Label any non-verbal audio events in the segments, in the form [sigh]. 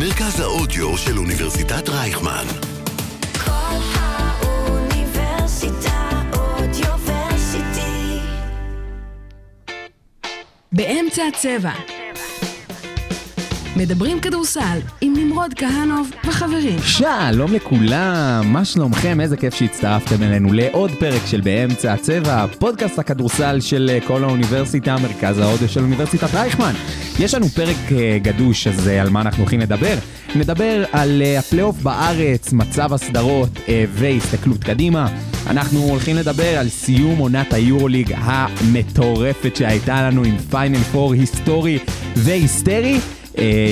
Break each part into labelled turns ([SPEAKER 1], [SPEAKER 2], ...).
[SPEAKER 1] מרכז האודיו של אוניברסיטת רייכמן.
[SPEAKER 2] כל האוניברסיטה אודיוורסיטי.
[SPEAKER 3] באמצע הצבע. מדברים כדורסל עם נמרוד כהנוב וחברים.
[SPEAKER 4] שלום לכולם, מה שלומכם? איזה כיף שהצטרפתם אלינו לעוד פרק של באמצע הצבע, פודקאסט הכדורסל של אה, כל האוניברסיטה, מרכז ההודו של אוניברסיטת רייכמן. יש לנו פרק אה, גדוש, אז אה, על מה אנחנו הולכים לדבר? נדבר על אה, הפלייאוף בארץ, מצב הסדרות אה, והסתכלות קדימה. אנחנו הולכים לדבר על סיום עונת היורוליג המטורפת שהייתה לנו עם פיינל פור היסטורי והיסטרי. אה,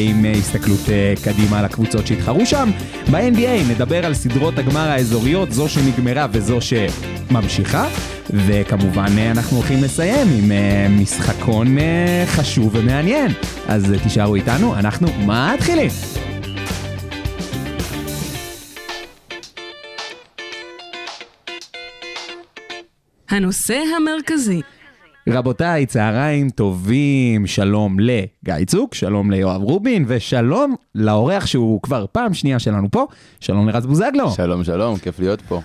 [SPEAKER 4] עם אה, הסתכלות אה, קדימה על הקבוצות שהתחרו שם. ב-NBA נדבר על סדרות הגמר האזוריות, זו שנגמרה וזו שממשיכה. וכמובן אה, אנחנו הולכים לסיים עם אה, משחקון אה, חשוב ומעניין. אז אה, תישארו איתנו, אנחנו מתחילים.
[SPEAKER 3] הנושא המרכזי.
[SPEAKER 4] רבותיי, צהריים טובים, שלום לגיא צוק, שלום ליואב רובין, ושלום לאורח שהוא כבר פעם שנייה שלנו פה, שלום לרז בוזגלו.
[SPEAKER 5] שלום, שלום, כיף להיות פה.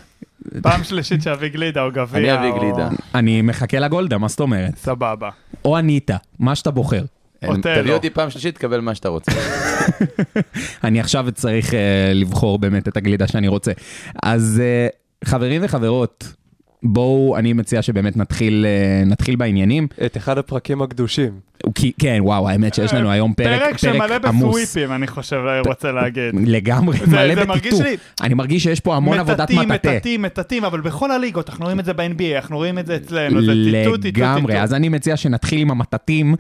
[SPEAKER 6] פעם שלישית שאביא גלידה או גביע.
[SPEAKER 5] אני אביא
[SPEAKER 6] או-
[SPEAKER 5] גלידה.
[SPEAKER 4] אני מחכה לגולדה, מה זאת אומרת?
[SPEAKER 6] סבבה.
[SPEAKER 4] או אניטה, מה שאתה בוחר.
[SPEAKER 5] אין-
[SPEAKER 6] אוטלו.
[SPEAKER 5] תביא אותי פעם שלישית, תקבל מה שאתה
[SPEAKER 6] [laughs]
[SPEAKER 5] רוצה.
[SPEAKER 4] אני עכשיו צריך uh, לבחור באמת את הגלידה שאני רוצה. אז uh, חברים וחברות, בואו, אני מציע שבאמת נתחיל, uh, נתחיל בעניינים.
[SPEAKER 7] את אחד הפרקים הקדושים.
[SPEAKER 4] כי, כן, וואו, האמת שיש לנו היום פרק,
[SPEAKER 6] פרק שמלא
[SPEAKER 4] עמוס.
[SPEAKER 6] בסוויפים, אני חושב, אה, רוצה להגיד.
[SPEAKER 4] לגמרי,
[SPEAKER 6] זה-
[SPEAKER 4] מלא
[SPEAKER 6] זה מרגיש
[SPEAKER 4] בטאטוא.
[SPEAKER 6] לי-
[SPEAKER 4] אני מרגיש שיש פה המון עבודת
[SPEAKER 6] מטאטאים,
[SPEAKER 4] מטאטא.
[SPEAKER 6] מטאטאים, מטאטאים, אבל בכל הליגות, אנחנו רואים את זה ב-NBA, אנחנו רואים את זה אצלנו, זה טיטוט, טיטוט,
[SPEAKER 4] לגמרי,
[SPEAKER 6] טיטוט.
[SPEAKER 4] אז אני מציע שנתחיל עם המטאטים.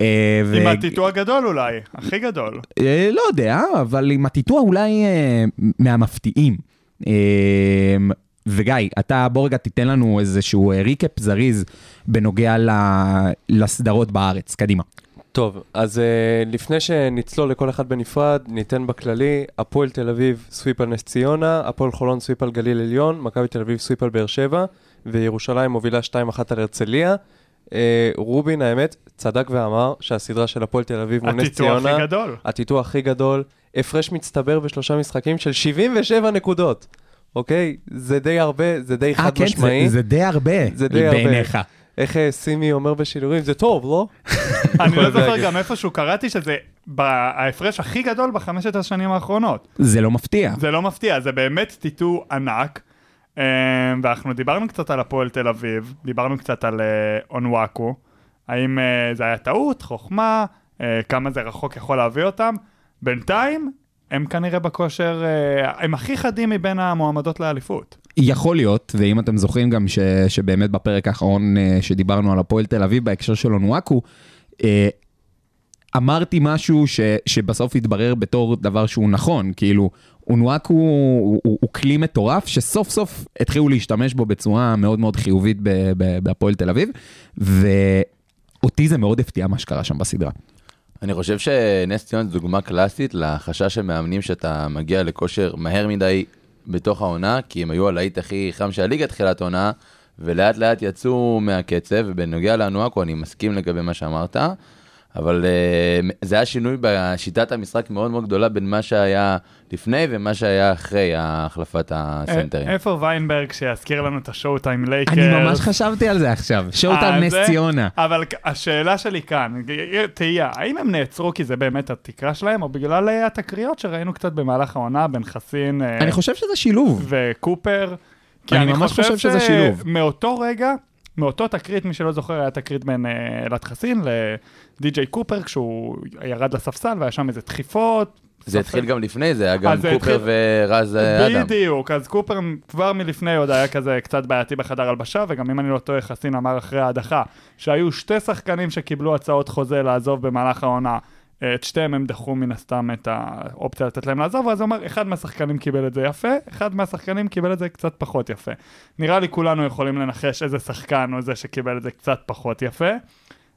[SPEAKER 4] אה, ו-
[SPEAKER 6] עם הטיטו הגדול אולי, הכי
[SPEAKER 5] [laughs]
[SPEAKER 6] גדול.
[SPEAKER 4] אה, לא יודע, אבל עם הטיטוע אולי אה, מהמפתיעים. אה, וגיא, אתה בוא רגע תיתן לנו איזשהו אה, ריקאפ זריז בנוגע ל- לסדרות בארץ. קדימה.
[SPEAKER 7] טוב, אז uh, לפני שנצלול לכל אחד בנפרד, ניתן בכללי, הפועל תל אביב סוויפ על נס ציונה, הפועל חולון סוויפ על גליל עליון, מכבי תל אביב סוויפ על באר שבע, וירושלים מובילה 2-1 על הרצליה. Uh, רובין, האמת, צדק ואמר שהסדרה של הפועל תל אביב מול נס
[SPEAKER 6] הטיטו
[SPEAKER 7] ציונה,
[SPEAKER 6] הכי גדול.
[SPEAKER 7] הטיטוח הכי גדול, הפרש מצטבר בשלושה משחקים של 77 נקודות, אוקיי? זה די הרבה, אה, זה די חד
[SPEAKER 4] כן,
[SPEAKER 7] משמעי.
[SPEAKER 4] זה, זה די הרבה
[SPEAKER 7] זה די הרבה.
[SPEAKER 4] בעיניך.
[SPEAKER 7] איך אה, סימי אומר בשידורים, זה טוב, לא?
[SPEAKER 6] אני לא
[SPEAKER 7] יכול
[SPEAKER 6] זוכר
[SPEAKER 7] להגיד.
[SPEAKER 6] גם איפשהו קראתי שזה ב- ההפרש הכי גדול בחמשת השנים האחרונות.
[SPEAKER 4] זה לא מפתיע.
[SPEAKER 6] זה לא מפתיע, זה באמת טיטו ענק. אמ, ואנחנו דיברנו קצת על הפועל תל אביב, דיברנו קצת על אה, אונוואקו, האם אה, זה היה טעות, חוכמה, אה, כמה זה רחוק יכול להביא אותם. בינתיים, הם כנראה בכושר, אה, הם הכי חדים מבין המועמדות לאליפות.
[SPEAKER 4] יכול להיות, ואם אתם זוכרים גם ש, שבאמת בפרק האחרון אה, שדיברנו על הפועל תל אביב בהקשר של אונואקו, אה, אמרתי משהו ש, שבסוף התברר בתור דבר שהוא נכון, כאילו, אונואקו הוא, הוא, הוא כלי מטורף שסוף סוף התחילו להשתמש בו בצורה מאוד מאוד חיובית ב- ב- בהפועל תל אביב, ואותי זה מאוד הפתיע מה שקרה שם בסדרה.
[SPEAKER 6] כן.
[SPEAKER 5] אני חושב שנס ציונה זו דוגמה קלאסית לחשש של מאמנים שאתה מגיע לכושר מהר מדי בתוך העונה, כי הם היו הלהיט הכי חם של הליגה תחילת העונה, ולאט לאט יצאו מהקצב, ובנוגע לאנואקו אני מסכים לגבי מה שאמרת, אבל אה, זה היה שינוי בשיטת המשחק מאוד מאוד גדולה בין מה שהיה לפני ומה שהיה אחרי החלפת הסנטרים.
[SPEAKER 6] אה, איפה ויינברג שיזכיר לנו את השואו טיים לייקרס?
[SPEAKER 4] אני ממש חשבתי על זה עכשיו,
[SPEAKER 6] אה,
[SPEAKER 4] שאותם נס
[SPEAKER 6] זה- אה.
[SPEAKER 4] ציונה.
[SPEAKER 6] אבל כ- השאלה שלי כאן, ג- תהייה, האם הם נעצרו כי זה באמת התקרה שלהם, או בגלל אה, התקריות שראינו קצת במהלך העונה בין חסין אה,
[SPEAKER 4] אני חושב שזה שילוב.
[SPEAKER 6] וקופר? כי
[SPEAKER 4] אני ממש חושב שזה שילוב.
[SPEAKER 6] מאותו רגע, מאותו תקרית, מי שלא זוכר, היה תקרית בין אה, אלעד חסין לדי.ג'יי קופר, כשהוא ירד לספסל והיה שם איזה דחיפות.
[SPEAKER 5] זה
[SPEAKER 6] ספק.
[SPEAKER 5] התחיל גם לפני, זה היה גם
[SPEAKER 6] אז זה
[SPEAKER 5] קופר
[SPEAKER 6] התחיל-
[SPEAKER 5] ורז אה, אדם.
[SPEAKER 6] בדיוק, אז קופר כבר מלפני עוד היה כזה קצת בעייתי בחדר הלבשה, וגם אם אני לא טועה, חסין אמר אחרי ההדחה, שהיו שתי שחקנים שקיבלו הצעות חוזה לעזוב במהלך העונה. את שתיהם הם דחו מן הסתם את האופציה לתת להם לעזוב, ואז הוא אמר, אחד מהשחקנים קיבל את זה יפה, אחד מהשחקנים קיבל את זה קצת פחות יפה. נראה לי כולנו יכולים לנחש איזה שחקן הוא זה שקיבל את זה קצת פחות יפה,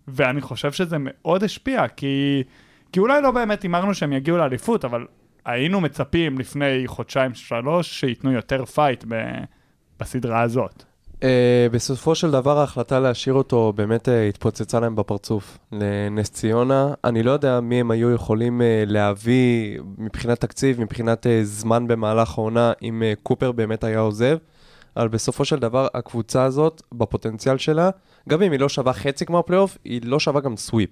[SPEAKER 6] ואני חושב שזה מאוד השפיע, כי, כי אולי לא באמת הימרנו שהם יגיעו לאליפות, אבל היינו מצפים לפני חודשיים שלוש שייתנו יותר פייט ב... בסדרה הזאת.
[SPEAKER 7] אה, בסופו של דבר ההחלטה להשאיר אותו באמת אה, התפוצצה להם בפרצוף, לנס ציונה. אני לא יודע מי הם היו יכולים אה, להביא מבחינת תקציב, מבחינת אה, זמן במהלך העונה, אם אה, קופר באמת היה עוזב. אבל בסופו של דבר הקבוצה הזאת, בפוטנציאל שלה, גם אם היא לא שווה חצי כמו הפלייאוף, היא לא שווה גם סוויפ.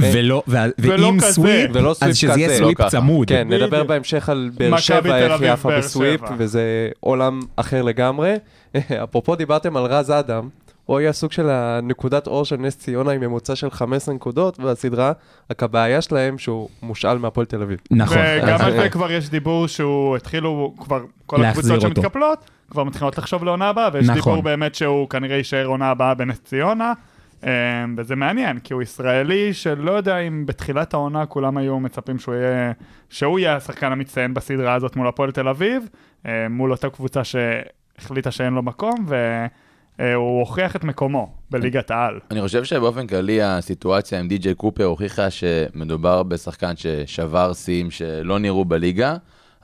[SPEAKER 4] ולא, וה- ואם
[SPEAKER 6] כזה.
[SPEAKER 4] סוויפ,
[SPEAKER 7] ולא סוויפ
[SPEAKER 4] אז שזה יהיה
[SPEAKER 7] כזה.
[SPEAKER 4] סוויפ
[SPEAKER 5] לא ככה.
[SPEAKER 4] צמוד.
[SPEAKER 7] כן,
[SPEAKER 6] בדיוק.
[SPEAKER 7] נדבר בהמשך על באר
[SPEAKER 6] מכבי
[SPEAKER 7] שבע,
[SPEAKER 6] תל
[SPEAKER 7] איך היא
[SPEAKER 6] אביב,
[SPEAKER 7] עפה
[SPEAKER 6] באר
[SPEAKER 7] בסוויפ,
[SPEAKER 6] שבע.
[SPEAKER 7] וזה עולם אחר לגמרי. [laughs] אפרופו דיברתם על רז אדם, הוא היה סוג של הנקודת אור של נס ציונה עם ממוצע של 15 נקודות בסדרה, רק הבעיה שלהם שהוא מושאל מהפועל תל אביב.
[SPEAKER 4] נכון.
[SPEAKER 6] וגם
[SPEAKER 4] אז-
[SPEAKER 6] על זה כבר יש דיבור שהוא התחילו כבר, כל
[SPEAKER 4] להחזיר
[SPEAKER 6] הקבוצות
[SPEAKER 4] אותו.
[SPEAKER 6] שמתקפלות כבר מתחילות לחשוב לעונה הבאה, ויש
[SPEAKER 4] נכון.
[SPEAKER 6] דיבור באמת שהוא כנראה יישאר עונה הבאה בנס ציונה, אמ, וזה מעניין, כי הוא ישראלי שלא יודע אם בתחילת העונה כולם היו מצפים שהוא יהיה, שהוא יהיה השחקן המצטיין בסדרה הזאת מול הפועל תל אביב, אמ, מול אותה קבוצה שהחליטה שאין לו מקום, והוא הוכיח את מקומו בליגת העל.
[SPEAKER 5] אני חושב שבאופן כללי הסיטואציה עם די.ג'יי קופר הוכיחה שמדובר בשחקן ששבר שיאים שלא נראו בליגה,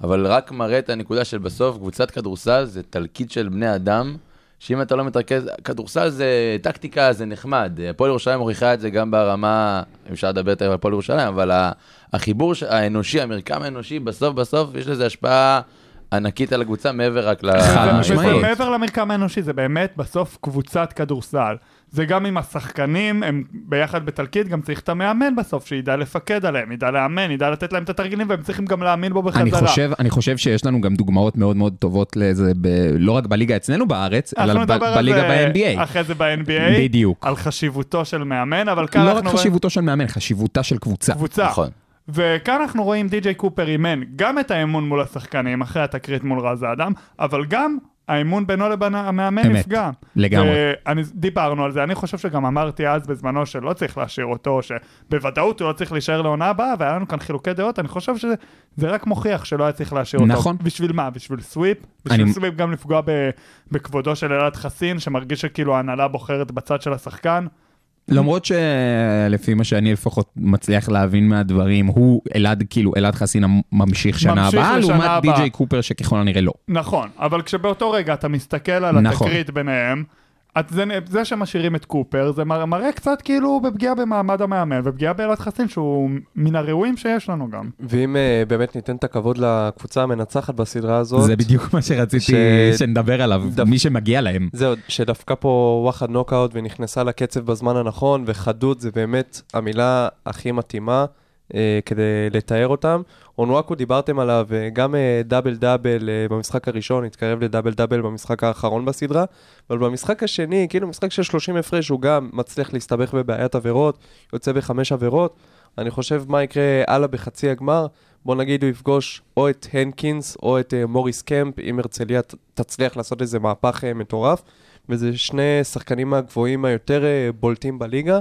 [SPEAKER 5] אבל רק מראה את הנקודה של בסוף, קבוצת כדורסל זה תלקיט של בני אדם, שאם אתה לא מתרכז, כדורסל זה טקטיקה, זה נחמד. הפועל ירושלים הוכיחה את זה גם ברמה, אם אפשר לדבר תכף על הפועל ירושלים, אבל ה- החיבור ש- האנושי, המרקם האנושי, בסוף בסוף יש לזה השפעה ענקית על הקבוצה מעבר רק ל...
[SPEAKER 4] חד
[SPEAKER 6] זה-
[SPEAKER 4] משמעית.
[SPEAKER 6] וזה מעבר למרקם האנושי, זה באמת בסוף קבוצת כדורסל. זה גם עם השחקנים, הם ביחד בתלקיד, גם צריך את המאמן בסוף, שידע לפקד עליהם, ידע לאמן, ידע לתת להם את התרגילים, והם צריכים גם להאמין בו בחזרה.
[SPEAKER 4] אני חושב, אני חושב שיש לנו גם דוגמאות מאוד מאוד טובות לזה, ב, לא רק בליגה אצלנו בארץ, אלא
[SPEAKER 6] אנחנו
[SPEAKER 4] ב,
[SPEAKER 6] נדבר על
[SPEAKER 4] בליגה
[SPEAKER 6] זה
[SPEAKER 4] ב-NBA.
[SPEAKER 6] אחרי זה ב-NBA.
[SPEAKER 4] בדיוק.
[SPEAKER 6] על חשיבותו של מאמן, אבל כאן
[SPEAKER 4] לא
[SPEAKER 6] אנחנו
[SPEAKER 4] רק חשיבותו של מאמן, חשיבותה של קבוצה.
[SPEAKER 6] קבוצה.
[SPEAKER 5] נכון.
[SPEAKER 6] וכאן אנחנו רואים די.ג'יי קופר אימן גם את האמון מול השחקנים אחרי התקרית מול רז האדם, אבל גם האמון בינו לבין המאמן
[SPEAKER 4] אמת,
[SPEAKER 6] נפגע.
[SPEAKER 4] לגמרי.
[SPEAKER 6] ואני, אה, דיברנו על זה, אני חושב שגם אמרתי אז בזמנו שלא צריך להשאיר אותו, שבוודאות הוא לא צריך להישאר לעונה הבאה, והיה לנו כאן חילוקי דעות, אני חושב שזה זה רק מוכיח שלא היה צריך להשאיר אותו.
[SPEAKER 4] נכון.
[SPEAKER 6] בשביל מה? בשביל סוויפ? בשביל
[SPEAKER 4] אני-
[SPEAKER 6] סוויפ גם לפגוע ב, בכבודו של אלעד חסין, שמרגיש שכאילו ההנהלה בוחרת בצד של השחקן.
[SPEAKER 4] למרות שלפי מה שאני לפחות מצליח להבין מהדברים, הוא אלעד, כאילו, אלעד חסין ממשיך שנה
[SPEAKER 6] ממשיך
[SPEAKER 4] הבאה,
[SPEAKER 6] לשנה
[SPEAKER 4] לעומת
[SPEAKER 6] הבאה.
[SPEAKER 4] די.ג'יי קופר שככל הנראה לא.
[SPEAKER 6] נכון, אבל כשבאותו רגע אתה מסתכל על
[SPEAKER 4] נכון.
[SPEAKER 6] התקרית ביניהם, את זה, זה שמשאירים את קופר, זה מראה, מראה קצת כאילו בפגיעה במעמד המאמן ופגיעה באלעד חסין, שהוא מן הראויים שיש לנו גם.
[SPEAKER 7] ואם אה, באמת ניתן את הכבוד לקבוצה המנצחת בסדרה הזאת,
[SPEAKER 4] זה בדיוק מה שרציתי
[SPEAKER 7] ש-
[SPEAKER 4] שנדבר עליו,
[SPEAKER 7] דו-
[SPEAKER 4] מי שמגיע להם.
[SPEAKER 7] זהו, שדפקה פה וואחד נוקאוט ונכנסה לקצב בזמן הנכון, וחדות זה באמת המילה הכי מתאימה אה, כדי לתאר אותם. אונוואקו דיברתם עליו, אה, גם אה, דאבל דאבל אה, במשחק הראשון, התקרב לדאבל דאבל במשחק האחרון בסדרה, אבל במשחק השני, כאילו משחק של 30 הפרש, הוא גם מצליח להסתבך בבעיית עבירות, יוצא בחמש עבירות. אני חושב מה יקרה הלאה בחצי הגמר. בוא נגיד הוא יפגוש או את הנקינס או את אה, מוריס קמפ, אם הרצליה ת- תצליח לעשות איזה מהפך אה, מטורף. וזה שני שחקנים הגבוהים היותר אה, בולטים בליגה.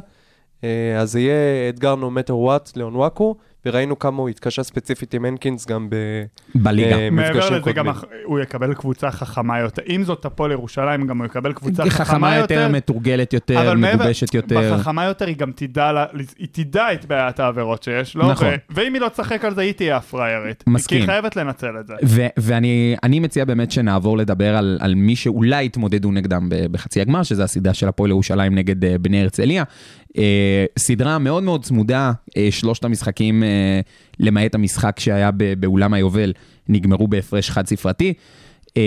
[SPEAKER 7] אה, אז זה יהיה אתגר נו מטר וואט לאונוואקו, וראינו כמה הוא התקשה ספציפית עם הנקינס גם ב...
[SPEAKER 4] בליגה.
[SPEAKER 7] אה, מפגשים
[SPEAKER 6] מעבר לזה גם
[SPEAKER 7] קודמים.
[SPEAKER 6] הח- הוא יקבל קבוצה חכמה יותר. אם זאת הפועל ירושלים, גם הוא יקבל קבוצה
[SPEAKER 4] היא
[SPEAKER 6] חכמה,
[SPEAKER 4] חכמה יותר, מתורגלת יותר,
[SPEAKER 6] אבל מעבר-
[SPEAKER 4] מגובשת יותר.
[SPEAKER 6] בחכמה יותר היא גם תדע, לה- היא תדע את בעיית העבירות שיש לו,
[SPEAKER 4] נכון.
[SPEAKER 6] ו- ואם היא לא תשחק על זה, היא תהיה הפריירית.
[SPEAKER 4] מסכים.
[SPEAKER 6] כי היא חייבת לנצל את זה.
[SPEAKER 4] ו- ואני אני מציע באמת שנעבור לדבר על, על מי שאולי יתמודדו נגדם ב- בחצי הגמר, שזה הסדרה של הפועל ירושלים נגד אה, בני הרצליה. אה, סדרה מאוד מאוד צמודה, אה, שלושת המשחקים, אה, למעט המשחק שהיה ב- באולם היובל, נגמרו בהפרש חד ספרתי. אה,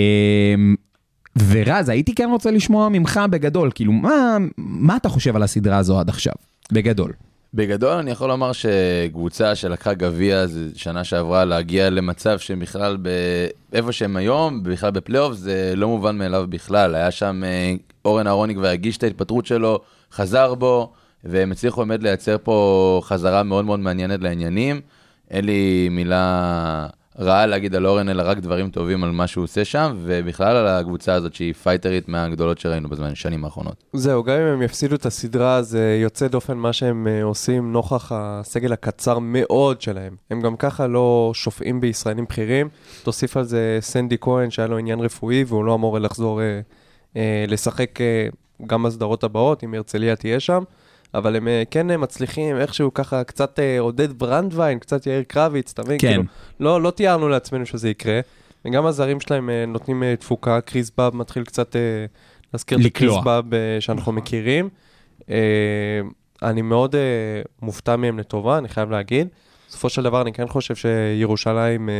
[SPEAKER 4] ורז, הייתי כן רוצה לשמוע ממך בגדול, כאילו, מה, מה אתה חושב על הסדרה הזו עד עכשיו? בגדול.
[SPEAKER 5] בגדול אני יכול לומר שקבוצה שלקחה גביע זה שנה שעברה להגיע למצב שהם בכלל ב... איפה שהם היום, בכלל בפלייאוף, זה לא מובן מאליו בכלל. היה שם אה, אורן אהרוני כבר הגיש את ההתפטרות שלו, חזר בו, והם הצליחו באמת לייצר פה חזרה מאוד מאוד מעניינת לעניינים. אין לי מילה רעה להגיד על אורן, אלא רק דברים טובים על מה שהוא עושה שם, ובכלל על הקבוצה הזאת שהיא פייטרית מהגדולות שראינו בזמן, שנים האחרונות.
[SPEAKER 7] זהו, גם אם הם יפסידו את הסדרה, זה יוצא דופן מה שהם אה, עושים נוכח הסגל הקצר מאוד שלהם. הם גם ככה לא שופעים בישראלים בכירים. תוסיף על זה סנדי כהן, שהיה לו עניין רפואי, והוא לא אמור לחזור אה, אה, לשחק אה, גם בסדרות הבאות, אם הרצליה תהיה שם. אבל הם אה, כן אה, מצליחים איכשהו ככה קצת אה, עודד ברנדווין, קצת יאיר קרביץ, אתה מבין?
[SPEAKER 4] כן.
[SPEAKER 7] כאילו, לא, לא תיארנו לעצמנו שזה יקרה. וגם הזרים שלהם אה, נותנים אה, תפוקה, קריס באב מתחיל קצת אה, להזכיר את
[SPEAKER 4] לקלוע. נכון.
[SPEAKER 7] הקריסבאב שאנחנו מכירים. אה, אני מאוד אה, מופתע מהם לטובה, אני חייב להגיד. בסופו של דבר אני כן חושב שירושלים, אה,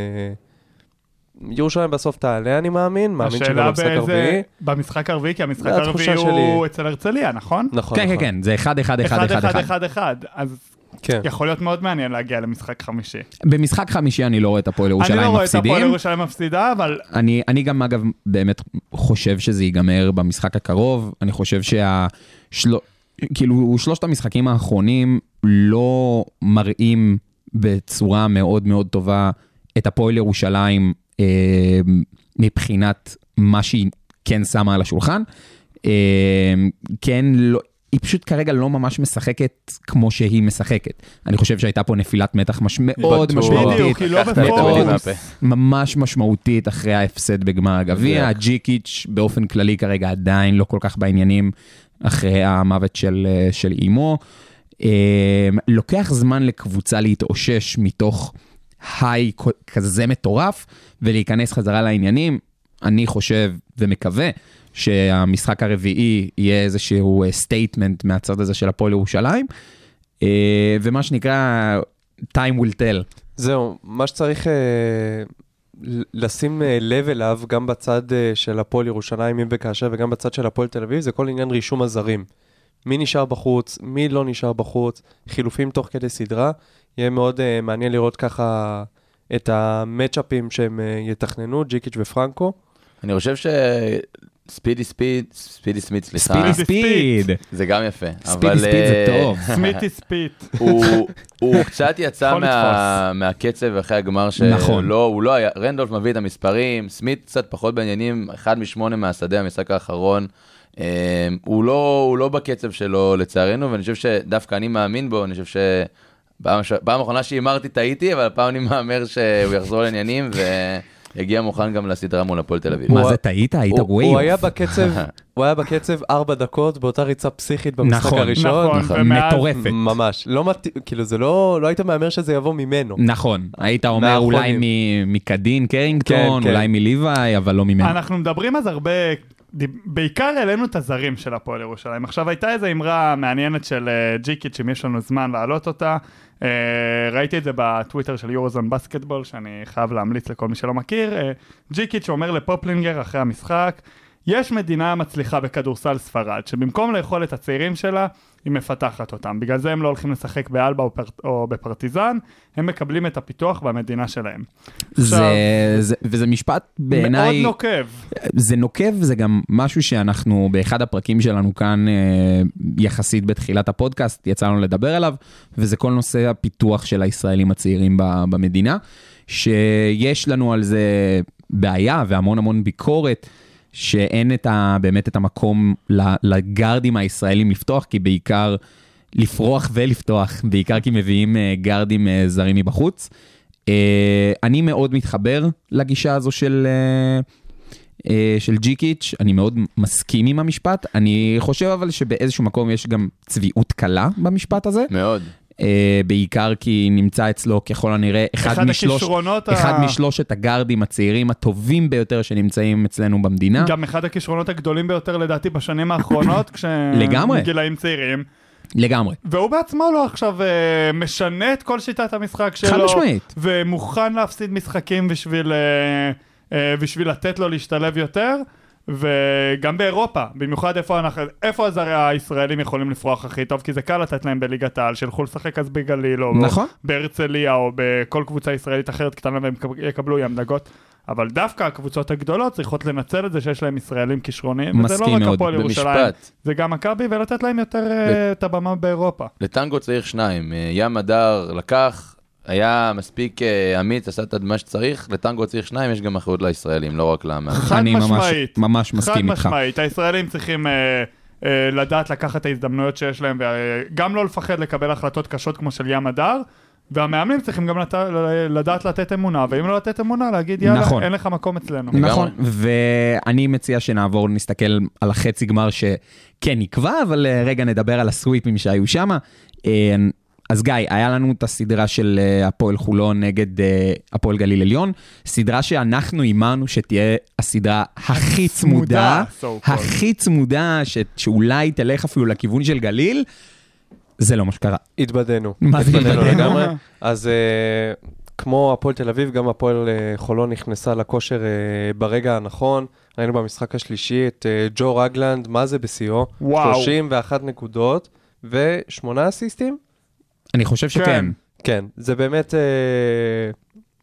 [SPEAKER 7] ירושלים בסוף תעלה, אני מאמין, מאמין
[SPEAKER 6] השאלה
[SPEAKER 7] שבמשחק
[SPEAKER 6] באיזה...
[SPEAKER 7] הרביעי.
[SPEAKER 6] במשחק הרביעי, כי המשחק
[SPEAKER 7] זה התחושה
[SPEAKER 6] הרביעי הוא
[SPEAKER 7] שלי.
[SPEAKER 6] אצל הרצליה, נכון?
[SPEAKER 7] נכון,
[SPEAKER 4] כן, כן,
[SPEAKER 7] נכון.
[SPEAKER 4] כן, זה 1-1-1-1-1.
[SPEAKER 6] 1-1-1-1, אז
[SPEAKER 7] כן.
[SPEAKER 6] יכול להיות מאוד מעניין להגיע למשחק חמישי.
[SPEAKER 4] במשחק חמישי אני לא רואה את הפועל
[SPEAKER 6] אני לא
[SPEAKER 4] ירושלים
[SPEAKER 6] רואה את הפועל
[SPEAKER 4] מפסידים.
[SPEAKER 6] ירושלים מפסידה,
[SPEAKER 4] [laughs]
[SPEAKER 6] אבל
[SPEAKER 4] אני, אני גם, אגב, באמת חושב שזה ייגמר במשחק הקרוב. אני חושב שה... של... כאילו, שלושת המשחקים האחרונים לא מראים בצורה מאוד מאוד טובה את הפועל ירושלים אה, מבחינת מה שהיא כן שמה על השולחן. אה, כן, לא... היא פשוט כרגע לא ממש משחקת כמו שהיא משחקת. אני חושב שהייתה פה נפילת מתח מש... מאוד
[SPEAKER 7] בטוח.
[SPEAKER 4] משמעותית.
[SPEAKER 6] בדיוק, היא לא
[SPEAKER 5] לקחת לי את המילים
[SPEAKER 6] בפוקוס.
[SPEAKER 5] מהפה.
[SPEAKER 4] ממש משמעותית אחרי ההפסד בגמר הגביע.
[SPEAKER 5] מדויק.
[SPEAKER 4] ג'יקיץ' באופן כללי כרגע עדיין לא כל כך בעניינים אחרי המוות של, אה, של אימו. אה, לוקח זמן לקבוצה להתאושש מתוך היי כ- כזה מטורף ולהיכנס חזרה לעניינים. אני חושב ומקווה שהמשחק הרביעי יהיה איזשהו סטייטמנט מהצד הזה של הפועל ירושלים. אה, ומה שנקרא, time will tell.
[SPEAKER 7] זהו, מה שצריך אה, ל- לשים אה, לב אליו, גם בצד אה, של הפועל ירושלים, אם וכאשר, וגם בצד של הפועל תל אביב, זה כל עניין רישום הזרים. מי נשאר בחוץ, מי לא נשאר בחוץ, חילופים תוך כדי סדרה. יהיה מאוד אה, מעניין לראות ככה את המצ'אפים שהם אה, יתכננו, ג'יקיץ' ופרנקו.
[SPEAKER 5] אני חושב ש... ספידי ספיד, ספידי סמיד, סליחה,
[SPEAKER 4] ספידי
[SPEAKER 6] ספיד.
[SPEAKER 4] ספיד.
[SPEAKER 5] זה גם יפה.
[SPEAKER 4] ספידי
[SPEAKER 5] אבל,
[SPEAKER 4] ספיד זה
[SPEAKER 5] אה,
[SPEAKER 4] טוב.
[SPEAKER 6] סמיתי ספיט.
[SPEAKER 4] [laughs]
[SPEAKER 5] הוא- הוא קצת יצא
[SPEAKER 6] יכול
[SPEAKER 5] מה- מהקצב אחרי הגמר,
[SPEAKER 4] נכון.
[SPEAKER 5] שלא, הוא לא היה, רנדולף מביא את המספרים, סמית קצת פחות בעניינים, אחד משמונה מהשדה המשחק האחרון. אה, הוא לא, הוא לא בקצב שלו לצערנו, ואני חושב שדווקא אני מאמין בו, אני חושב ש... פעם ש- פעם האחרונה שהימרתי טעיתי, אבל הפעם אני מהמר שהוא יחזור לעניינים ויגיע מוכן גם לסדרה מול הפועל תל אביב.
[SPEAKER 4] מה זה, טעית? היית
[SPEAKER 7] הוא- הוא היה
[SPEAKER 4] ווייב?
[SPEAKER 7] בקצב, הוא היה בקצב ארבע דקות באותה ריצה פסיכית במשחק
[SPEAKER 4] נכון,
[SPEAKER 7] הראשון.
[SPEAKER 6] נכון,
[SPEAKER 4] נכון.
[SPEAKER 6] ומאז...
[SPEAKER 4] מטורפת.
[SPEAKER 7] ממש, לא מתאים, כאילו זה לא, לא היית מהמר שזה יבוא ממנו.
[SPEAKER 4] נכון, היית אומר
[SPEAKER 7] מהאחרונים.
[SPEAKER 4] אולי מ- מקדין קרינגטון,
[SPEAKER 7] כן, כן.
[SPEAKER 4] אולי מליוואי, אבל לא ממנו.
[SPEAKER 6] אנחנו מדברים אז הרבה, דיב- בעיקר העלינו את הזרים של הפועל ירושלים. עכשיו הייתה איזו אמרה מעניינת של אה, ג'יקיץ', אם יש לנו זמן להעלות אותה. אה, ראיתי את זה בטוויטר של יורוזון בסקטבול, שאני חייב להמליץ לכל מי שלא מכיר. אה, ג'יקיץ' אומר לפופלינגר אחרי המשחק, יש מדינה מצליחה בכדורסל ספרד, שבמקום לאכול את הצעירים שלה, היא מפתחת אותם. בגלל זה הם לא הולכים לשחק באלבה או, פר... או בפרטיזן, הם מקבלים את הפיתוח במדינה שלהם.
[SPEAKER 4] זה- זה- וזה משפט
[SPEAKER 6] מאוד
[SPEAKER 4] בעיניי,
[SPEAKER 6] נוקב.
[SPEAKER 4] זה נוקב, זה גם משהו שאנחנו באחד הפרקים שלנו כאן, אה, יחסית בתחילת הפודקאסט, יצא לנו לדבר עליו, וזה כל נושא הפיתוח של הישראלים הצעירים ב- במדינה, שיש לנו על זה בעיה והמון המון ביקורת. שאין את ה, באמת את המקום ל- לגארדים הישראלים לפתוח, כי בעיקר לפרוח ולפתוח, בעיקר כי מביאים אה, גארדים אה, זרים מבחוץ. אה, אני מאוד מתחבר לגישה הזו של, אה, אה, של ג'יקיץ', אני מאוד מסכים עם המשפט. אני חושב אבל שבאיזשהו מקום יש גם צביעות קלה במשפט הזה.
[SPEAKER 5] מאוד.
[SPEAKER 4] אה, בעיקר כי נמצא אצלו ככל הנראה אחד,
[SPEAKER 6] אחד
[SPEAKER 4] משלוש,
[SPEAKER 6] הכישרונות ה-
[SPEAKER 4] אחד משלושת הגארדים הצעירים הטובים ביותר שנמצאים אצלנו במדינה.
[SPEAKER 6] גם אחד הכישרונות הגדולים ביותר לדעתי
[SPEAKER 4] [coughs]
[SPEAKER 6] בשנים האחרונות, כשהם
[SPEAKER 4] לגמרי.
[SPEAKER 6] גילאים צעירים,
[SPEAKER 4] לגמרי.
[SPEAKER 6] והוא בעצמו לא עכשיו אה, משנה את כל שיטת המשחק שלו,
[SPEAKER 4] משמעית.
[SPEAKER 6] ומוכן להפסיד משחקים בשביל, אה, אה, בשביל לתת לו להשתלב יותר, וגם באירופה, במיוחד איפה, אנחנו, איפה הזרי הישראלים יכולים לפרוח הכי טוב, כי זה קל לתת להם בליגת העל, שילכו לשחק אז בגליל, או
[SPEAKER 4] נכון.
[SPEAKER 6] בהרצליה, או בכל קבוצה ישראלית אחרת לא קטנה, והם יקבלו ים דגות. אבל דווקא הקבוצות הגדולות צריכות לנצל את זה שיש להם ישראלים כישרוניים, וזה לא
[SPEAKER 4] מסכים
[SPEAKER 6] רק
[SPEAKER 4] מאוד,
[SPEAKER 6] הפועל ירושלים,
[SPEAKER 5] במשפט.
[SPEAKER 6] זה גם מכבי, ולתת להם יותר אה, את הבמה באירופה.
[SPEAKER 5] לטנגו צריך שניים, אה, ים הדר לקח, היה מספיק אה, אמיץ, עשה את מה שצריך, לטנגו צריך שניים, יש גם אחריות לישראלים, לא רק למאמן.
[SPEAKER 6] חד
[SPEAKER 4] אני ממש-
[SPEAKER 6] משמעית.
[SPEAKER 4] ממש מסכים איתך.
[SPEAKER 6] חד משמעית, הישראלים צריכים אה, אה, לדעת לקחת את ההזדמנויות שיש להם, וגם לא לפחד לקבל החלטות קשות כמו של ים הדר. והמאמנים צריכים גם לת... לדעת לתת אמונה, ואם לא לתת אמונה, להגיד יאללה,
[SPEAKER 4] נכון.
[SPEAKER 6] אין לך מקום אצלנו.
[SPEAKER 4] נכון, ואני מציע שנעבור, נסתכל על החצי גמר שכן נקבע, אבל אה, רגע נדבר על הסוויפים שהיו שם. אז גיא, היה לנו את הסדרה של אה, הפועל חולון נגד אה, הפועל גליל עליון, סדרה שאנחנו הימרנו שתהיה הסדרה הכי צמודה,
[SPEAKER 6] so called.
[SPEAKER 4] הכי צמודה, ש- שאולי תלך אפילו לכיוון של גליל, זה לא מה שקרה.
[SPEAKER 7] התבדינו.
[SPEAKER 4] מה זה התבדינו?
[SPEAKER 7] לגמרי. אז אה, כמו הפועל תל אביב, גם הפועל אה, חולון נכנסה לכושר אה, ברגע הנכון. ראינו במשחק השלישי את אה, ג'ו רגלנד, מה זה בשיאו?
[SPEAKER 6] וואו.
[SPEAKER 7] 31 נקודות ושמונה אסיסטים?
[SPEAKER 4] אני חושב שכן.
[SPEAKER 6] כן.
[SPEAKER 7] כן, זה באמת אה,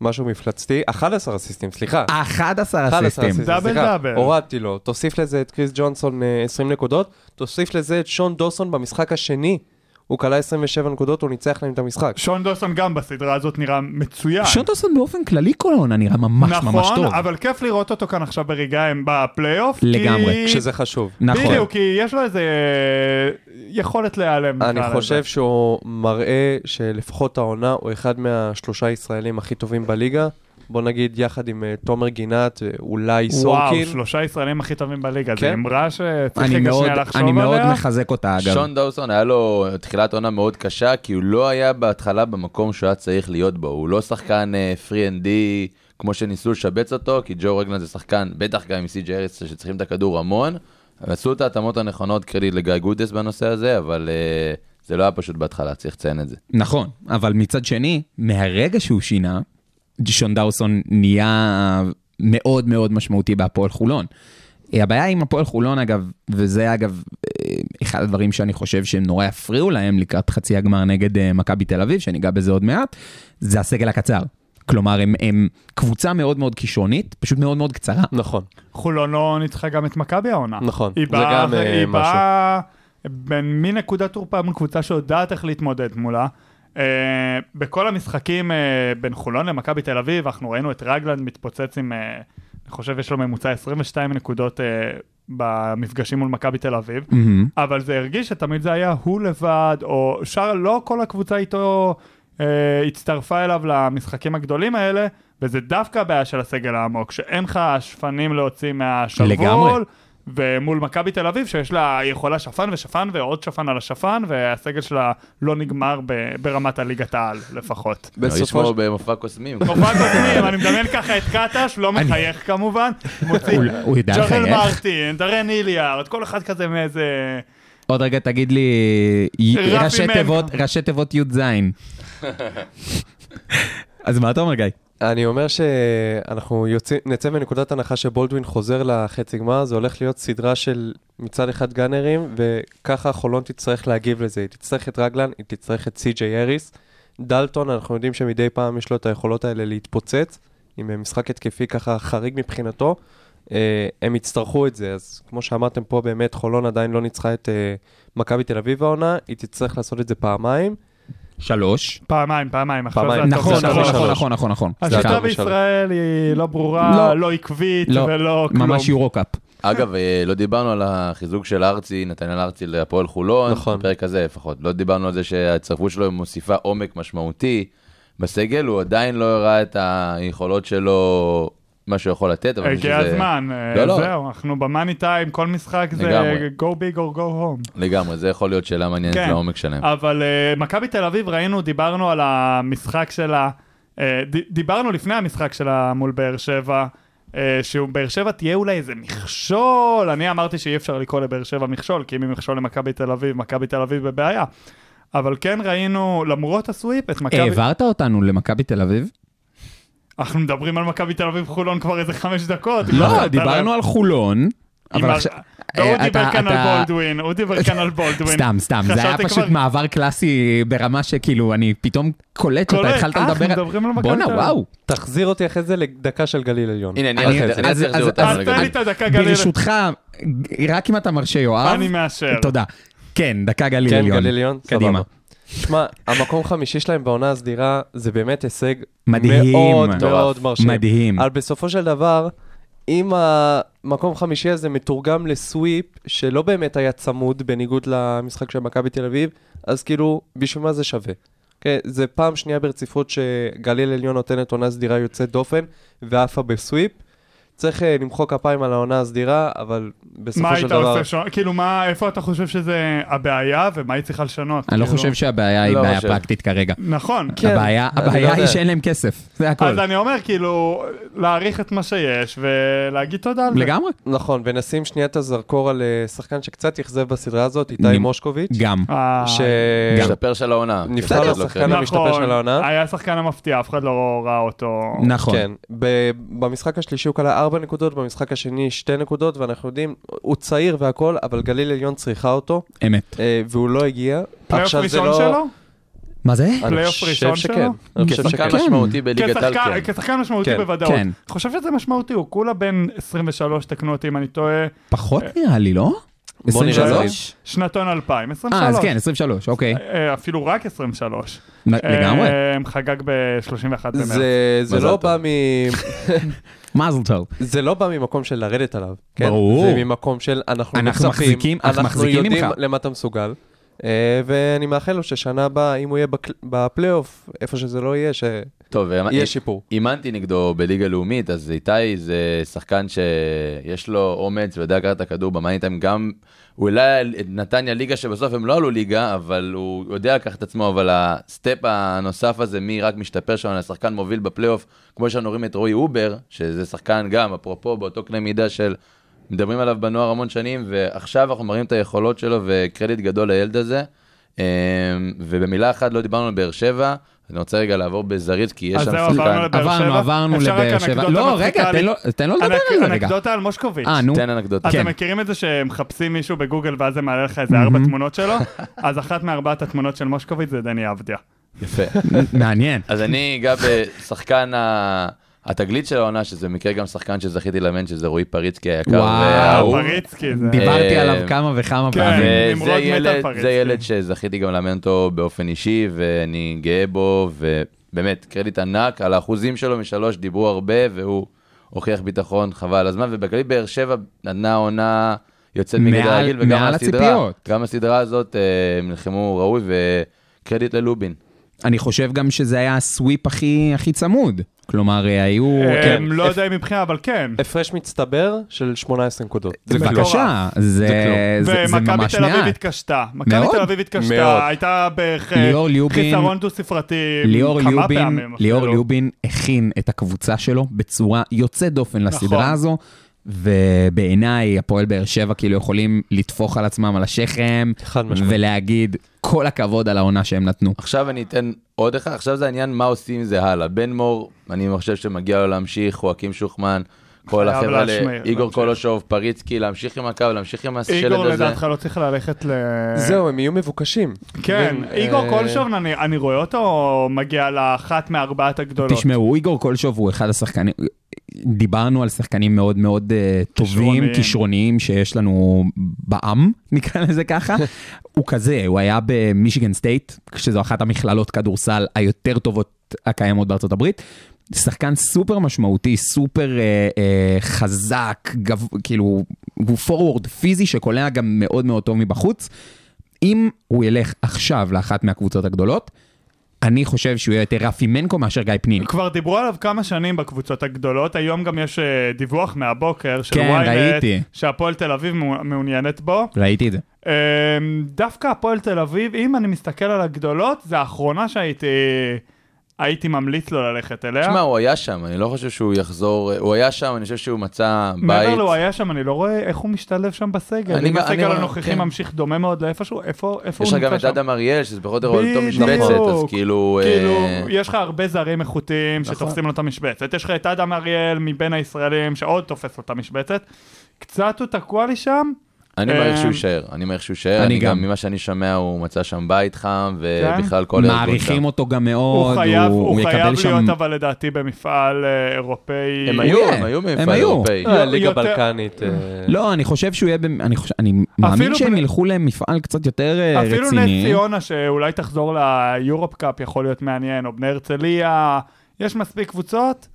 [SPEAKER 7] משהו מפלצתי. 11 אסיסטים, סליחה.
[SPEAKER 4] 11
[SPEAKER 7] 11
[SPEAKER 4] אה, אסיסטים.
[SPEAKER 7] אסיסטים,
[SPEAKER 6] דאבל
[SPEAKER 7] סליחה.
[SPEAKER 6] דאבל.
[SPEAKER 7] הורדתי לו. תוסיף לזה את קריס ג'ונסון אה, 20 נקודות, תוסיף לזה את שון דוסון במשחק השני. הוא כלה 27 נקודות, הוא ניצח להם את המשחק.
[SPEAKER 6] שון דוסון גם בסדרה הזאת נראה מצוין.
[SPEAKER 4] שונטוסון באופן כללי כל העונה נראה ממש ממש
[SPEAKER 6] נכון,
[SPEAKER 4] טוב.
[SPEAKER 6] אבל כיף לראות אותו כאן עכשיו ברגעיים בפלייאוף.
[SPEAKER 4] לגמרי,
[SPEAKER 6] כי-
[SPEAKER 7] כשזה חשוב.
[SPEAKER 4] נכון.
[SPEAKER 6] בדיוק, כי יש לו איזה אה, יכולת להיעלם.
[SPEAKER 7] אני
[SPEAKER 6] נקרא לזה.
[SPEAKER 7] חושב שהוא מראה שלפחות העונה הוא אחד מהשלושה ישראלים הכי טובים בליגה. בוא נגיד יחד עם אה, תומר גינת, אה, אולי
[SPEAKER 6] וואו,
[SPEAKER 7] סורקין.
[SPEAKER 6] שלושה ישראלים הכי טובים בליגה, זו
[SPEAKER 7] כן.
[SPEAKER 6] אמרה שצריך
[SPEAKER 4] אני
[SPEAKER 6] רגע
[SPEAKER 4] מאוד,
[SPEAKER 6] שנייה לחשוב
[SPEAKER 4] אני מאוד
[SPEAKER 6] עליה.
[SPEAKER 4] מחזק אותה אגב.
[SPEAKER 5] שון דאוסון היה לו תחילת עונה מאוד קשה, כי הוא לא היה בהתחלה במקום שהוא היה צריך להיות בו. הוא לא שחקן פרי אנד די, כמו שניסו לשבץ אותו, כי ג'ו רגלנד זה שחקן, בטח גם עם סי.ג'י אריס, שצריכים את הכדור המון. עשו את ההתאמות הנכונות, קרדיט לגיא גודס בנושא הזה, אבל אה, זה לא היה פשוט בהתחלה, צריך לציין את זה.
[SPEAKER 4] נכון, אבל מצד שני, מהרגע שהוא שינה, שון דאוסון נהיה מאוד מאוד משמעותי בהפועל חולון. הבעיה עם הפועל חולון אגב, וזה אגב אה, אחד הדברים שאני חושב שהם נורא יפריעו להם לקראת חצי הגמר נגד אה, מכבי תל אביב, שניגע בזה עוד מעט, זה הסגל הקצר. כלומר, הם, הם קבוצה מאוד מאוד כישרונית, פשוט מאוד מאוד קצרה.
[SPEAKER 7] נכון,
[SPEAKER 6] חולון לא ניצחה גם את מכבי העונה.
[SPEAKER 7] נכון.
[SPEAKER 6] היא
[SPEAKER 7] זה
[SPEAKER 6] באה,
[SPEAKER 7] גם, אה,
[SPEAKER 6] היא
[SPEAKER 7] משהו.
[SPEAKER 6] באה בין- מנקודת תורפה מול קבוצה שיודעת איך להתמודד מולה. Uh, בכל המשחקים uh, בין חולון למכבי תל אביב, אנחנו ראינו את רגלנד מתפוצץ עם, uh, אני חושב יש לו ממוצע 22 נקודות uh, במפגשים מול מכבי תל אביב.
[SPEAKER 4] מהמם.
[SPEAKER 6] אבל זה הרגיש שתמיד זה היה הוא לבד, או שאר, לא כל הקבוצה איתו אה, הצטרפה אליו למשחקים הגדולים האלה, וזה דווקא הבעיה של הסגל העמוק, שאין לך שפנים להוציא מהשרוול.
[SPEAKER 4] לגמרי.
[SPEAKER 6] ומול מכבי תל אביב, שיש לה יכולה שפן ושפן ועוד שפן על השפן, והסגל שלה לא נגמר ב, ברמת הליגת העל לפחות.
[SPEAKER 5] מרגיש
[SPEAKER 7] בסופו
[SPEAKER 5] כמו
[SPEAKER 7] של...
[SPEAKER 5] במופע
[SPEAKER 7] [laughs]
[SPEAKER 5] קוסמים.
[SPEAKER 6] מופע קודמים, אני מדמיין ככה את קטש, לא מחייך כמובן, מוציא
[SPEAKER 4] הוא- הוא יודע
[SPEAKER 6] ג'רל
[SPEAKER 4] לחייך.
[SPEAKER 6] מרטין, דרן איליארד, כל אחד כזה מאיזה...
[SPEAKER 4] עוד רגע תגיד לי,
[SPEAKER 6] רפי
[SPEAKER 4] ראשי
[SPEAKER 6] מלכה.
[SPEAKER 4] תיבות, ראשי תיבות י"ז. אז מה אתה אומר, גיא?
[SPEAKER 7] אני אומר שאנחנו יוצאים, נצא מנקודת הנחה שבולדווין חוזר לחצי גמר, זה הולך להיות סדרה של מצד אחד גאנרים, וככה חולון תצטרך להגיב לזה. היא תצטרך את רגלן, היא תצטרך את סי.ג'יי אריס. דלטון, אנחנו יודעים שמדי פעם יש לו את היכולות האלה להתפוצץ, עם אה, משחק התקפי ככה חריג מבחינתו. אה, הם יצטרכו את זה, אז כמו שאמרתם פה, באמת חולון עדיין לא ניצחה את אה, מכבי תל אביב העונה, היא תצטרך לעשות את זה פעמיים.
[SPEAKER 4] שלוש.
[SPEAKER 6] פעמיים, פעמיים, עכשיו זה
[SPEAKER 7] פעמיים.
[SPEAKER 6] הטופ
[SPEAKER 4] נכון,
[SPEAKER 6] של
[SPEAKER 4] נכון,
[SPEAKER 6] הטופ.
[SPEAKER 4] נכון,
[SPEAKER 7] שלוש.
[SPEAKER 4] נכון, נכון, נכון.
[SPEAKER 6] השיטה
[SPEAKER 4] סליחה.
[SPEAKER 7] ב-
[SPEAKER 6] בישראל היא לא
[SPEAKER 4] לא.
[SPEAKER 6] ברורה, לא עקבית
[SPEAKER 4] לא,
[SPEAKER 6] ולא כלום.
[SPEAKER 4] ממש יורו-קאפ.
[SPEAKER 5] אגב, אה, לא דיברנו על החיזוק של ארצי, נתנאל ארצי להפועל חולון,
[SPEAKER 7] נכון.
[SPEAKER 5] בפרק הזה לפחות. לא דיברנו על זה שההצטרפות שלו מוסיפה עומק משמעותי בסגל, הוא עדיין לא הראה את היכולות שלו, מה שהוא יכול לתת, אבל אני חושב
[SPEAKER 6] הגיע
[SPEAKER 5] שזה-
[SPEAKER 6] הזמן,
[SPEAKER 5] לא,
[SPEAKER 6] אה,
[SPEAKER 5] לא.
[SPEAKER 6] זהו, אנחנו במאני טיים, כל משחק זה
[SPEAKER 5] לגמרי.
[SPEAKER 6] go big or go home.
[SPEAKER 5] לגמרי, זה יכול להיות שאלה מעניינת
[SPEAKER 6] כן.
[SPEAKER 5] לעומק שלהם.
[SPEAKER 6] אבל אה, מכבי תל אביב, ראינו, דיברנו על המשחק שלה, אה, ד- דיברנו לפני המשחק שלה מול באר שבע. אה, שהוא באר שבע תהיה אולי איזה מכשול, אני אמרתי שאי אפשר לקרוא לבאר שבע מכשול, כי אם היא מכשול למכבי תל אביב, מכבי תל אביב בבעיה. אבל כן ראינו, למרות הסוויפ, את מכבי...
[SPEAKER 4] העברת אותנו למכבי תל אביב?
[SPEAKER 6] אנחנו מדברים על מכבי תל אביב חולון כבר איזה חמש דקות.
[SPEAKER 4] לא, דיברנו על חולון. אבל עכשיו... אה,
[SPEAKER 6] לא, הוא דיבר
[SPEAKER 4] אתה-
[SPEAKER 6] כאן
[SPEAKER 4] אתה-
[SPEAKER 6] על בולדווין, הוא דיבר כאן
[SPEAKER 4] [laughs]
[SPEAKER 6] על בולדווין.
[SPEAKER 4] סתם, סתם, זה היה
[SPEAKER 6] חשבתי
[SPEAKER 4] פשוט
[SPEAKER 6] כבר-
[SPEAKER 4] מעבר קלאסי ברמה שכאילו, אני פתאום קולט שאתה
[SPEAKER 6] קולט,
[SPEAKER 4] התחלת
[SPEAKER 6] אה,
[SPEAKER 4] לדבר
[SPEAKER 6] אנחנו
[SPEAKER 4] על...
[SPEAKER 6] מדברים על מכבי
[SPEAKER 4] בואנה,
[SPEAKER 6] תל אביב.
[SPEAKER 4] וואו.
[SPEAKER 7] תחזיר אותי אחרי זה לדקה של גליל עליון.
[SPEAKER 5] הנה, אני
[SPEAKER 4] אני-
[SPEAKER 5] אני- אני
[SPEAKER 4] אז-
[SPEAKER 5] אצליח
[SPEAKER 4] אז-
[SPEAKER 5] להחזיר אותנו.
[SPEAKER 4] אז-
[SPEAKER 6] אז תן לי
[SPEAKER 5] לגמרי.
[SPEAKER 6] את הדקה גליל.
[SPEAKER 4] ברשותך, רק אם אתה מרשה, יואב.
[SPEAKER 6] אני מאשר.
[SPEAKER 4] תודה. כן, דקה גליל
[SPEAKER 7] כן,
[SPEAKER 4] עליון.
[SPEAKER 7] גליל עליון,
[SPEAKER 4] קדימה.
[SPEAKER 7] סבבה. שמע, המקום חמישי שלהם בעונה הסדירה, זה באמת הישג
[SPEAKER 4] מדהים.
[SPEAKER 7] מאוד מאוד
[SPEAKER 5] מטורף.
[SPEAKER 7] מרשים.
[SPEAKER 4] מדהים.
[SPEAKER 7] אבל בסופו של דבר, אם המקום חמישי הזה מתורגם לסוויפ, שלא באמת היה צמוד בניגוד למשחק של מכבי תל אביב, אז כאילו, בשביל מה זה שווה? כן, זה פעם שנייה ברציפות שגליל עליון נותנת עונה סדירה יוצאת דופן, ועפה בסוויפ. צריך אה, למחוא כפיים על העונה הסדירה, אבל
[SPEAKER 6] מה
[SPEAKER 7] בסופו של
[SPEAKER 6] היית
[SPEAKER 7] דבר...
[SPEAKER 6] עושה שונה? כאילו, מה, איפה אתה חושב שזה הבעיה ומה היא צריכה לשנות?
[SPEAKER 4] אני לא
[SPEAKER 6] כאילו-
[SPEAKER 4] חושב שהבעיה היא
[SPEAKER 5] לא
[SPEAKER 4] בעיה
[SPEAKER 5] חושב.
[SPEAKER 4] פרקטית כרגע.
[SPEAKER 6] נכון.
[SPEAKER 7] כן,
[SPEAKER 4] הבעיה
[SPEAKER 7] אני
[SPEAKER 4] הבעיה
[SPEAKER 7] לא
[SPEAKER 4] היא
[SPEAKER 7] יודע.
[SPEAKER 4] שאין להם כסף, זה הכל.
[SPEAKER 6] אז אני אומר, כאילו, להעריך את מה שיש ולהגיד תודה על זה.
[SPEAKER 4] לגמרי.
[SPEAKER 7] נכון, ונשים שנייה את הזרקור על אה, שחקן שקצת אכזב בסדרה הזאת, איתי
[SPEAKER 4] ני-
[SPEAKER 7] מושקוביץ',
[SPEAKER 4] גם.
[SPEAKER 6] אה,
[SPEAKER 7] שנפל
[SPEAKER 5] משתפר של העונה. כן, לא
[SPEAKER 4] בסדר,
[SPEAKER 7] לו
[SPEAKER 5] בסדר.
[SPEAKER 7] שחקן המשתפר של העונה.
[SPEAKER 6] היה השחקן המפתיע, אף אחד לא ראה אותו.
[SPEAKER 4] נכון.
[SPEAKER 7] כן, ב- במשחק השלישי הוא כלה 4 נקודות, במשחק השני 2 נקודות, ואנחנו יודעים, הוא צעיר והכל, אבל גליל עליון צריכה אותו,
[SPEAKER 4] אמת.
[SPEAKER 7] אה, והוא לא הגיע.
[SPEAKER 6] פלייאוף
[SPEAKER 7] עכשיו זה
[SPEAKER 6] ראשון
[SPEAKER 7] לא-
[SPEAKER 6] שלו?
[SPEAKER 4] מה זה?
[SPEAKER 7] אני
[SPEAKER 6] פלייאוף
[SPEAKER 7] חושב
[SPEAKER 6] ראשון
[SPEAKER 7] שכן.
[SPEAKER 6] שלו?
[SPEAKER 7] אני חושב
[SPEAKER 5] כשחקן
[SPEAKER 7] שכן.
[SPEAKER 4] כן.
[SPEAKER 5] משמעותי בליגת על
[SPEAKER 6] כשחקן-
[SPEAKER 5] כן.
[SPEAKER 6] כשחקן משמעותי
[SPEAKER 7] כן,
[SPEAKER 6] בוודאות.
[SPEAKER 4] כן.
[SPEAKER 6] אני חושב שזה משמעותי, הוא כולה בן 23, תקנו אותי אם אני טועה,
[SPEAKER 4] פחות נראה לי, לא?
[SPEAKER 5] בוא נראה.
[SPEAKER 4] 23?
[SPEAKER 6] שנתון 2000, 23.
[SPEAKER 4] אה, אז כן, 23, אוקיי.
[SPEAKER 6] אה, אפילו רק 23.
[SPEAKER 4] נ- לגמרי.
[SPEAKER 6] אה, חגג ב-31 במרץ.
[SPEAKER 7] זה- זה
[SPEAKER 5] מזל
[SPEAKER 7] לא
[SPEAKER 5] טוב.
[SPEAKER 7] בא מ-
[SPEAKER 4] מזל טוב.
[SPEAKER 7] זה לא בא ממקום של לרדת עליו, כן?
[SPEAKER 4] ברור.
[SPEAKER 7] זה ממקום של אנחנו
[SPEAKER 4] אנחנו
[SPEAKER 7] מוצפים,
[SPEAKER 4] מחזיקים- אנחנו מחזיקים
[SPEAKER 7] יודעים
[SPEAKER 4] ממך.
[SPEAKER 7] למה אתה מסוגל, אה, ואני מאחל לו ששנה הבאה, אם הוא יהיה בקל- בפלייאוף, איפה שזה לא יהיה, שיהיה
[SPEAKER 5] טוב, אה,
[SPEAKER 7] שיפור.
[SPEAKER 5] אימנתי נגדו בליגה לאומית, אז איתי זה שחקן שיש לו אומץ ויודע לקחת את הכדור במיין טיים, גם הוא העלה את נתניה ליגה שבסוף הם לא עלו ליגה, אבל הוא יודע לקחת את עצמו, אבל הסטפ הנוסף הזה מי רק משתפר שם, לשחקן מוביל בפלייאוף, כמו שאנחנו רואים את רועי אובר, שזה שחקן גם, אפרופו, באותו קנה מידה של... מדברים עליו בנוער המון שנים, ועכשיו אנחנו מראים את היכולות שלו, וקרדיט גדול לילד הזה. אמ, ובמילה אחת לא דיברנו על באר שבע, אני רוצה רגע לעבור בזריז, כי יש
[SPEAKER 6] אז
[SPEAKER 5] שם
[SPEAKER 6] זהו,
[SPEAKER 5] שחקן.
[SPEAKER 6] עברנו לבאר
[SPEAKER 4] עברנו,
[SPEAKER 6] שבע?
[SPEAKER 4] עברנו
[SPEAKER 6] אפשר רק
[SPEAKER 4] לבאר שבע.
[SPEAKER 6] אנקדוטה
[SPEAKER 4] לא,
[SPEAKER 6] מצחיקה
[SPEAKER 4] רגע,
[SPEAKER 6] לי?
[SPEAKER 4] תן לו- תן לו לא לדבר
[SPEAKER 6] אנק-
[SPEAKER 4] על זה רגע.
[SPEAKER 6] אנקדוטה על מושקוביץ'.
[SPEAKER 4] אה, נו.
[SPEAKER 5] תן אנקדוטה.
[SPEAKER 4] כן.
[SPEAKER 6] אתם מכירים את זה שמחפשים מישהו בגוגל ואז זה מעלה לך איזה ארבע תמונות שלו? [laughs] אז אחת מארבעת התמונות של מושקוביץ' זה דני עבדיה.
[SPEAKER 5] יפה.
[SPEAKER 4] מעניין.
[SPEAKER 6] כן,
[SPEAKER 5] אז אני אגע בשחקן ה... התגלית של העונה, שזה במקרה גם שחקן שזכיתי לאמן, שזה רועי פריצקי היקר.
[SPEAKER 4] וואו,
[SPEAKER 7] אה,
[SPEAKER 5] והאהוב.
[SPEAKER 6] פריצקי זה...
[SPEAKER 4] דיברתי
[SPEAKER 5] אה,
[SPEAKER 4] עליו כמה וכמה
[SPEAKER 6] כן.
[SPEAKER 4] פעמים.
[SPEAKER 5] וזה
[SPEAKER 6] נמרוד מת על
[SPEAKER 5] ילד,
[SPEAKER 6] פריצקי.
[SPEAKER 5] זה ילד שזכיתי גם לאמן אותו באופן אישי, ואני גאה בו, ובאמת, קרדיט ענק, על האחוזים שלו משלוש דיברו הרבה, והוא הוכיח ביטחון חבל על הזמן, ובכללי באר שבע נתנה עונה יוצאת מגדר
[SPEAKER 4] מעל-
[SPEAKER 5] הרגיל, וגם
[SPEAKER 4] מעל
[SPEAKER 5] הסדרה,
[SPEAKER 4] הציפיות.
[SPEAKER 5] גם הסדרה הזאת אה, הם נלחמו ראוי, וקרדיט ללובין.
[SPEAKER 4] אני חושב גם שזה היה הסוויפ הכי הכי צמוד. כלומר, אה, היו...
[SPEAKER 6] אה,
[SPEAKER 7] כן.
[SPEAKER 6] לא
[SPEAKER 7] אפ-
[SPEAKER 6] יודע אם מבחינה, אבל כן.
[SPEAKER 7] הפרש מצטבר של 18 נקודות.
[SPEAKER 4] זה
[SPEAKER 6] מטורף.
[SPEAKER 4] בבקשה, זה זה- זה
[SPEAKER 6] ומכבי
[SPEAKER 4] ממש
[SPEAKER 6] תל אביב
[SPEAKER 4] מעט.
[SPEAKER 6] התקשתה. מכבי
[SPEAKER 4] מאוד.
[SPEAKER 6] תל אביב התקשתה,
[SPEAKER 7] מאוד.
[SPEAKER 6] הייתה בערך אה,
[SPEAKER 4] ליאור ליובין-
[SPEAKER 6] חיסרון דו ספרתי
[SPEAKER 4] ליאור
[SPEAKER 6] כמה
[SPEAKER 4] ליובין,
[SPEAKER 6] פעמים.
[SPEAKER 4] ליאור
[SPEAKER 7] כאילו,
[SPEAKER 6] אפילו.
[SPEAKER 4] ליובין הכין את הקבוצה שלו בצורה יוצאת דופן
[SPEAKER 6] נכון.
[SPEAKER 4] לסדרה הזו. ובעיניי, הפועל באר שבע כאילו יכולים לטפוח על עצמם על השכם,
[SPEAKER 7] חד משמעית.
[SPEAKER 4] ולהגיד כל הכבוד על העונה שהם נתנו.
[SPEAKER 5] עכשיו אני אתן עוד אחד, עכשיו זה העניין מה עושים עם זה הלאה. בן מור, אני חושב שמגיע לו להמשיך, חואקים שוחמן, כל
[SPEAKER 6] חייב
[SPEAKER 5] החבר'ה, האלה,
[SPEAKER 6] להשמיע,
[SPEAKER 5] איגור
[SPEAKER 6] להמשיך.
[SPEAKER 5] קולושוב, פריצקי, להמשיך עם הקו, להמשיך עם השלד
[SPEAKER 6] איגור
[SPEAKER 5] הזה.
[SPEAKER 6] לדעתך לא צריך ללכת ל...
[SPEAKER 7] זהו, הם יהיו מבוקשים.
[SPEAKER 6] כן,
[SPEAKER 7] הם,
[SPEAKER 6] איגור
[SPEAKER 7] אה,
[SPEAKER 6] קולשוב, אני- אני רואה אותו מגיע לאחת מארבעת הגדולות.
[SPEAKER 4] תשמעו, איגור קולשוב הוא אחד השחקנים, דיברנו על שחקנים מאוד מאוד אה, טובים,
[SPEAKER 6] כישרוניים.
[SPEAKER 4] כישרוניים שיש לנו בעם, [laughs] נקרא לזה ככה. הוא כזה, הוא היה במישיגן סטייט, שזו אחת המכללות כדורסל היותר טובות הקיימות בארצות הברית. שחקן סופר משמעותי, סופר אה, אה, חזק, גב, כאילו, הוא פורוורד פיזי שקולע גם מאוד מאוד טוב מבחוץ. אם הוא ילך עכשיו לאחת מהקבוצות הגדולות, אני חושב שהוא יהיה יותר רפי מנקו מאשר גיא פניני.
[SPEAKER 6] כבר דיברו עליו כמה שנים בקבוצות הגדולות, היום גם יש אה, דיווח מהבוקר של
[SPEAKER 4] כן,
[SPEAKER 6] ynet
[SPEAKER 4] ראיתי.
[SPEAKER 6] שהפועל תל אביב מעו- מעוניינת בו.
[SPEAKER 4] ראיתי את זה.
[SPEAKER 6] אה, דווקא הפועל תל אביב, אם אני מסתכל על הגדולות, זה האחרונה שהייתי הייתי ממליץ לו ללכת אליה.
[SPEAKER 5] תשמע, הוא היה שם, אני לא חושב שהוא יחזור, הוא היה שם, אני חושב שהוא מצא
[SPEAKER 6] מעבר
[SPEAKER 5] בית.
[SPEAKER 6] לו הוא היה שם, אני לא רואה איך הוא משתלב שם בסגל.
[SPEAKER 5] אני
[SPEAKER 6] אם
[SPEAKER 5] גם-
[SPEAKER 6] הסגל
[SPEAKER 5] אני-
[SPEAKER 6] הנוכחי
[SPEAKER 5] כן.
[SPEAKER 6] ממשיך דומה מאוד לאיפשהו, איפה איפה
[SPEAKER 5] יש
[SPEAKER 6] הוא
[SPEAKER 5] לך גם
[SPEAKER 6] נמצא
[SPEAKER 5] את
[SPEAKER 6] שם?
[SPEAKER 5] אדם אריאל, שזה פחות או יותר אותו
[SPEAKER 6] בדיוק.
[SPEAKER 5] משבצת, אז כאילו...
[SPEAKER 6] כאילו,
[SPEAKER 5] אה,
[SPEAKER 6] יש לך הרבה זרים איכותיים שתופסים לו את המשבצת. יש לך את אדם אריאל מבין הישראלים שעוד תופס לו את המשבצת. קצת הוא תקוע לי שם.
[SPEAKER 5] אני
[SPEAKER 6] אה,
[SPEAKER 5] מעריך שהוא יישאר, אני מעריך שהוא יישאר,
[SPEAKER 4] אני
[SPEAKER 5] אני גם,
[SPEAKER 4] גם.
[SPEAKER 5] ממה שאני שומע, הוא מצא שם בית חם,
[SPEAKER 6] כן?
[SPEAKER 5] ובכלל כל הארגון שם.
[SPEAKER 4] מעריכים אותו גם מאוד,
[SPEAKER 6] הוא חייב, הוא,
[SPEAKER 4] הוא
[SPEAKER 6] חייב
[SPEAKER 4] יקבל
[SPEAKER 6] להיות
[SPEAKER 4] שם...
[SPEAKER 6] שם... אבל לדעתי במפעל אה, אירופאי.
[SPEAKER 5] הם
[SPEAKER 4] הוא
[SPEAKER 5] היו,
[SPEAKER 4] יהיה.
[SPEAKER 5] הם היו
[SPEAKER 4] הם
[SPEAKER 5] מפעל
[SPEAKER 4] היו.
[SPEAKER 5] אירופאי.
[SPEAKER 7] אה,
[SPEAKER 6] יו-
[SPEAKER 7] ליגה
[SPEAKER 6] לא, יותר-
[SPEAKER 7] בלקנית. אה,
[SPEAKER 4] לא, אני חושב שהוא יהיה... במ- אני חושב- אני מאמין
[SPEAKER 6] אפילו
[SPEAKER 4] שהם
[SPEAKER 6] בני-
[SPEAKER 4] ילכו למפעל קצת יותר אה, רציני.
[SPEAKER 6] אפילו נס ציונה שאולי תחזור ליורופ קאפ יכול להיות מעניין, או בני הרצליה, יש מספיק קבוצות.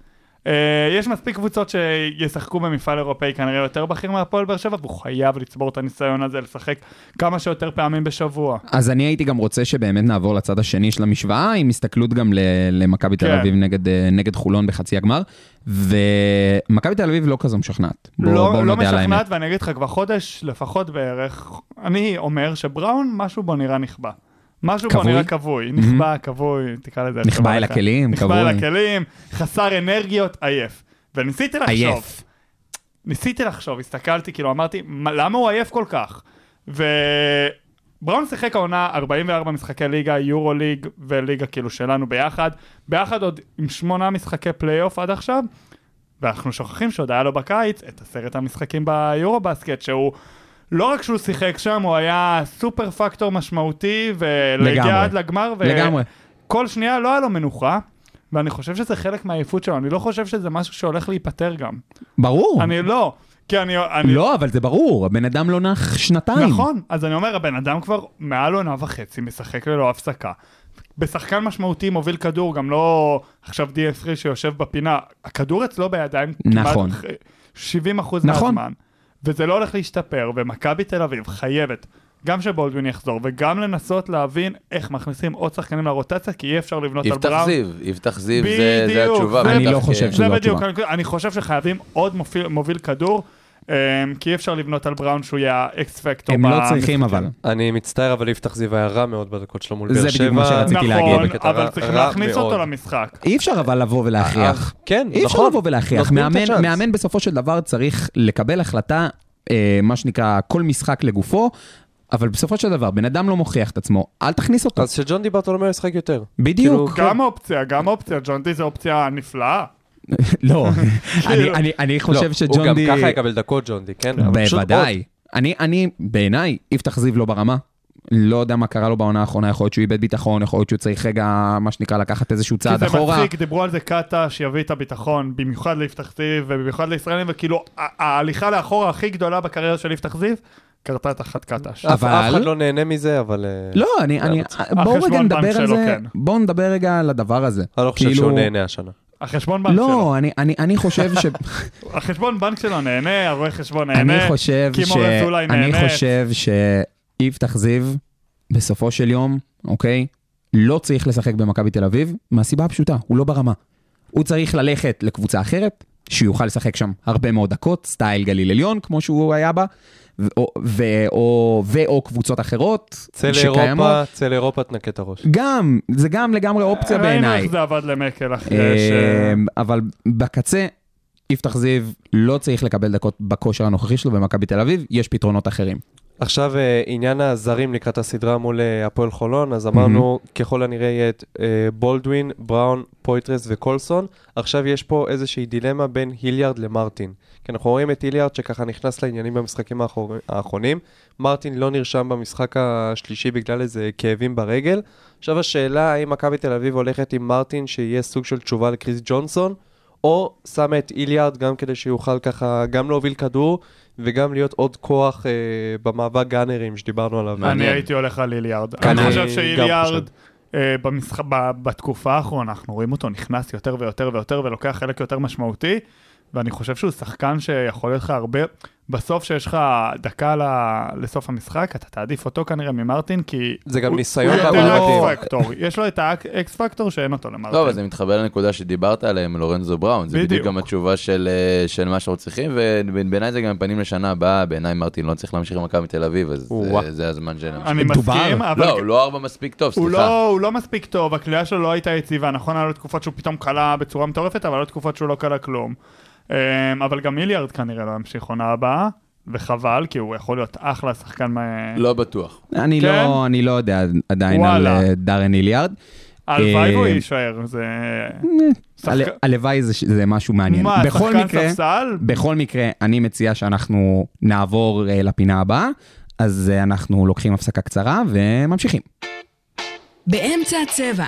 [SPEAKER 6] אה, יש מספיק קבוצות שישחקו במפעל אירופאי כנראה יותר בכיר מהפועל באר שבע, והוא חייב לצבור את הניסיון הזה לשחק כמה שיותר פעמים בשבוע.
[SPEAKER 4] אז אני הייתי גם רוצה שבאמת נעבור לצד השני של המשוואה, עם הסתכלות גם ל- למכבי תל
[SPEAKER 6] כן.
[SPEAKER 4] אביב נגד, אה, נגד חולון בחצי הגמר, ומכבי תל אביב לא כזו משכנעת. בואו
[SPEAKER 6] לא,
[SPEAKER 4] בוא
[SPEAKER 6] לא
[SPEAKER 4] נודה על האמת.
[SPEAKER 6] משכנעת, ואני אגיד לך, כבר חודש לפחות בערך, אני אומר שבראון, משהו בו נראה נכבה. משהו בו
[SPEAKER 4] כבוי? Mhm.
[SPEAKER 6] נראה כבוי, נכבה, כבוי, תקרא לזה. איך
[SPEAKER 4] נכבה
[SPEAKER 6] שבא
[SPEAKER 4] אל
[SPEAKER 6] לך.
[SPEAKER 4] הכלים,
[SPEAKER 6] נכבה אל
[SPEAKER 4] כבוי.
[SPEAKER 6] הכלים, חסר אנרגיות, עייף. וניסיתי לחשוב,
[SPEAKER 4] עייף.
[SPEAKER 6] ניסיתי לחשוב, הסתכלתי, כאילו אמרתי, "מה- למה הוא עייף כל כך? ובראון שיחק העונה 44 משחקי ליגה, יורו ליג וליגה כאילו שלנו ביחד, ביחד עוד עם שמונה משחקי פלייאוף עד עכשיו, ואנחנו שוכחים שעוד היה לו בקיץ את עשרת המשחקים ביורו בסקט, שהוא... לא רק שהוא שיחק שם, הוא היה סופר פקטור משמעותי, ולהגיע
[SPEAKER 4] לגמרי.
[SPEAKER 6] עד לגמר, ו...
[SPEAKER 4] לגמרי.
[SPEAKER 6] כל שנייה לא היה לו מנוחה, ואני חושב שזה חלק מהעייפות שלו, אני לא חושב שזה משהו שהולך להיפתר גם.
[SPEAKER 4] ברור.
[SPEAKER 6] אני לא, כי אני... אני...
[SPEAKER 4] נכון. לא, אבל זה ברור, הבן אדם לא נח שנתיים.
[SPEAKER 6] נכון, אז אני אומר, הבן אדם כבר מעל עונה וחצי משחק ללא הפסקה. בשחקן משמעותי מוביל כדור, גם לא עכשיו DS3 שיושב בפינה, הכדור אצלו בידיים
[SPEAKER 4] נכון.
[SPEAKER 6] כמעט אחרי 70 אחוז
[SPEAKER 4] נכון.
[SPEAKER 6] מהזמן. וזה לא הולך להשתפר, ומכבי תל אביב חייבת, גם שבולדווין יחזור, וגם לנסות להבין איך מכניסים עוד שחקנים לרוטציה, כי אי אפשר לבנות על
[SPEAKER 5] יפתח
[SPEAKER 6] בראון.
[SPEAKER 5] זיו, יפתח זיו, זה- זה
[SPEAKER 6] בדיוק,
[SPEAKER 5] התשובה. כן.
[SPEAKER 6] זה-
[SPEAKER 5] בטח,
[SPEAKER 4] אני לא
[SPEAKER 5] כי-
[SPEAKER 4] חושב
[SPEAKER 6] זה
[SPEAKER 4] שזו
[SPEAKER 6] בדיוק,
[SPEAKER 4] התשובה.
[SPEAKER 6] אני, אני חושב שחייבים עוד מוביל, מוביל כדור, אמ, כי אי אפשר לבנות על בראון שהוא יהיה האקס פקטור.
[SPEAKER 4] הם לא
[SPEAKER 6] במשחקים.
[SPEAKER 4] צריכים אבל.
[SPEAKER 7] אני מצטער, אבל יפתח זיו היה רע מאוד בדקות שלו מול
[SPEAKER 4] זה
[SPEAKER 7] באר שבע.
[SPEAKER 4] בדיוק מה שרציתי. רציתי
[SPEAKER 6] נכון,
[SPEAKER 4] להגיד.
[SPEAKER 7] בקטע
[SPEAKER 6] אבל
[SPEAKER 7] רע-
[SPEAKER 6] צריך
[SPEAKER 7] רע
[SPEAKER 6] להכניס אותו
[SPEAKER 7] מאוד.
[SPEAKER 6] למשחק.
[SPEAKER 4] אי אפשר אבל לבוא ולהכריח.
[SPEAKER 7] אה, כן,
[SPEAKER 4] אי אפשר
[SPEAKER 7] נכון.
[SPEAKER 4] לבוא ולהכריח.
[SPEAKER 7] נותנים את
[SPEAKER 4] מאמן,
[SPEAKER 7] הצ'אנס.
[SPEAKER 4] מאמן בסופו של דבר צריך לקבל החלטה, אה, מה שנקרא, כל משחק לגופו, אבל בסופו של דבר, בן אדם לא מוכיח את עצמו, אל תכניס אותו.
[SPEAKER 7] אז שג'ון דיברטולומי ישחק יותר.
[SPEAKER 4] בדיוק.
[SPEAKER 7] כאילו,
[SPEAKER 6] גם אופציה, גם אופציה, ג'ונטי זו אופציה נפלאה.
[SPEAKER 4] [laughs]
[SPEAKER 7] [laughs]
[SPEAKER 4] לא, אני-
[SPEAKER 6] כאילו-
[SPEAKER 4] אני- אני חושב
[SPEAKER 7] לא,
[SPEAKER 4] שג'ון די...
[SPEAKER 7] הוא גם ככה יקבל דקות ג'ון די, כן? אבל פשוט עוד.
[SPEAKER 4] בוודאי. אני, אני, בעיניי, יפתח זיו לא ברמה. לא יודע מה קרה לו בעונה האחרונה, יכול להיות שהוא איבד ביטחון, יכול להיות שהוא צריך רגע, מה שנקרא, לקחת איזשהו
[SPEAKER 6] כי
[SPEAKER 4] צעד
[SPEAKER 6] זה
[SPEAKER 4] אחורה.
[SPEAKER 6] מצחיק, דיברו על זה קאטה שיביא את הביטחון, במיוחד ליפתח זיו ובמיוחד לישראלים, וכאילו ה- ההליכה לאחורה הכי גדולה בקריירה של יפתח זיו, קרתה תחת קטש.
[SPEAKER 4] אה,
[SPEAKER 7] אף- אף
[SPEAKER 4] אבל-
[SPEAKER 7] אחד לא נהנה מזה, אבל... אה,
[SPEAKER 4] לא, אני, אני, בואו רגע
[SPEAKER 6] החשבון בנק
[SPEAKER 4] נדבר על
[SPEAKER 6] שלו,
[SPEAKER 4] זה,
[SPEAKER 6] כן.
[SPEAKER 4] בואו נדבר רגע על הדבר הזה.
[SPEAKER 7] אני לא חושב
[SPEAKER 4] כאילו-
[SPEAKER 7] שהוא נהנה השנה.
[SPEAKER 6] החשבון בנק שלו.
[SPEAKER 4] לא, אני, אני, אני חושב ש...
[SPEAKER 7] [laughs]
[SPEAKER 6] החשבון בנק שלו נהנה, הרואה חשבון
[SPEAKER 4] אני
[SPEAKER 6] נהנה.
[SPEAKER 4] חושב
[SPEAKER 6] כי
[SPEAKER 4] ש...
[SPEAKER 6] מור אזולאי
[SPEAKER 4] אני
[SPEAKER 6] נהנית.
[SPEAKER 4] חושב שיפתח זיו, בסופו של יום, אוקיי, לא צריך לשחק במכבי תל אביב, מהסיבה הפשוטה, הוא לא ברמה. הוא צריך ללכת לקבוצה אחרת, שיוכל לשחק שם הרבה מאוד דקות, סטייל גליל עליון, כמו שהוא היה בה, ו- או- ו- או- ואו קבוצות אחרות
[SPEAKER 7] צא לאירופה, צא לאירופה, תנקה את הראש.
[SPEAKER 4] גם, זה גם לגמרי אופציה
[SPEAKER 6] ראינו
[SPEAKER 4] בעיניי.
[SPEAKER 6] איך זה עבד למקל אחרי ש...
[SPEAKER 4] אה, אבל בקצה, יפתח זיו לא צריך לקבל דקות בכושר הנוכחי שלו במכבי תל אביב, יש פתרונות אחרים.
[SPEAKER 7] עכשיו אה, עניין הזרים לקראת הסדרה מול אה, הפועל חולון, אז אמרנו ככל הנראה יהיה את אה, בולדווין, בראון, פויטרס וקולסון. עכשיו יש פה איזושהי דילמה בין היליארד למרטין. כי אנחנו רואים את היליארד שככה נכנס לעניינים במשחקים האחור- האחרונים. מרטין לא נרשם במשחק השלישי בגלל איזה כאבים ברגל. עכשיו השאלה האם מכבי תל אביב הולכת עם מרטין שיהיה סוג של תשובה לקריס ג'ונסון, או שמה את איליארד גם כדי שיוכל ככה גם להוביל כדור וגם להיות עוד כוח אה, במאבק גאנרים שדיברנו עליו.
[SPEAKER 6] אני
[SPEAKER 5] מעניין.
[SPEAKER 6] הייתי הולך על איליארד.
[SPEAKER 4] כן,
[SPEAKER 6] אני
[SPEAKER 4] אני
[SPEAKER 6] חושב
[SPEAKER 7] גם
[SPEAKER 6] שאיליארד,
[SPEAKER 7] חושב.
[SPEAKER 6] אה, במשח- ב- בתקופה האחרונה, אנחנו רואים אותו נכנס יותר ויותר ויותר ולוקח חלק יותר משמעותי, ואני חושב שהוא שחקן שיכול להיות לך הרבה... בסוף שיש לך דקה ל- לסוף המשחק, אתה תעדיף אותו כנראה ממרטין, כי...
[SPEAKER 7] זה גם
[SPEAKER 6] הוא-
[SPEAKER 7] ניסיון
[SPEAKER 6] הוא יותר לא
[SPEAKER 7] במאבקים.
[SPEAKER 6] אקס-פקטור. יש לו את האקס-פקטור שאין אותו למרטין.
[SPEAKER 5] לא, אבל זה מתחבר לנקודה שדיברת עליה עם לורנזו בראון. זה בדיוק
[SPEAKER 6] בדיוק.
[SPEAKER 5] גם התשובה של אה, של מה שאנחנו צריכים, ובעיניי זה גם פנים לשנה הבאה. בעיניי מרטין לא צריך להמשיך עם מכבי תל אביב, אז זה-
[SPEAKER 7] או-אה.
[SPEAKER 5] זה הזמן שלהם.
[SPEAKER 6] אני
[SPEAKER 4] מדובר.
[SPEAKER 6] מסכים, אבל...
[SPEAKER 5] לא, הוא לא ארבע מספיק טוב,
[SPEAKER 6] הוא
[SPEAKER 5] סליחה.
[SPEAKER 6] לא, הוא לא מספיק טוב, הכלייה שלו לא הייתה יציבה, נכון, היה לו תקופות שהוא פתאום כלה בצורה מטורפת, אבל היו תקופות שהוא לא כלה כלום. אמ, אבל גם מיליארד כנראה לא ימשיך עונה הבאה, וחבל, כי הוא יכול להיות אחלה שחקן מה...
[SPEAKER 5] לא בטוח.
[SPEAKER 4] אני,
[SPEAKER 6] כן?
[SPEAKER 4] לא, אני לא יודע עדיין
[SPEAKER 6] וואלה.
[SPEAKER 4] על אה, דארן איליארד.
[SPEAKER 6] הלוואי
[SPEAKER 4] אה,
[SPEAKER 6] והוא יישאר, זה...
[SPEAKER 4] הל,
[SPEAKER 6] שחק-
[SPEAKER 4] הלוואי זה, ש- זה משהו מעניין.
[SPEAKER 6] מה,
[SPEAKER 4] בכל
[SPEAKER 6] שחקן
[SPEAKER 4] מקרה,
[SPEAKER 6] ספסל?
[SPEAKER 4] בכל מקרה, אני מציע שאנחנו נעבור אה, לפינה הבאה, אז אה, אנחנו לוקחים הפסקה קצרה וממשיכים.
[SPEAKER 3] באמצע הצבע.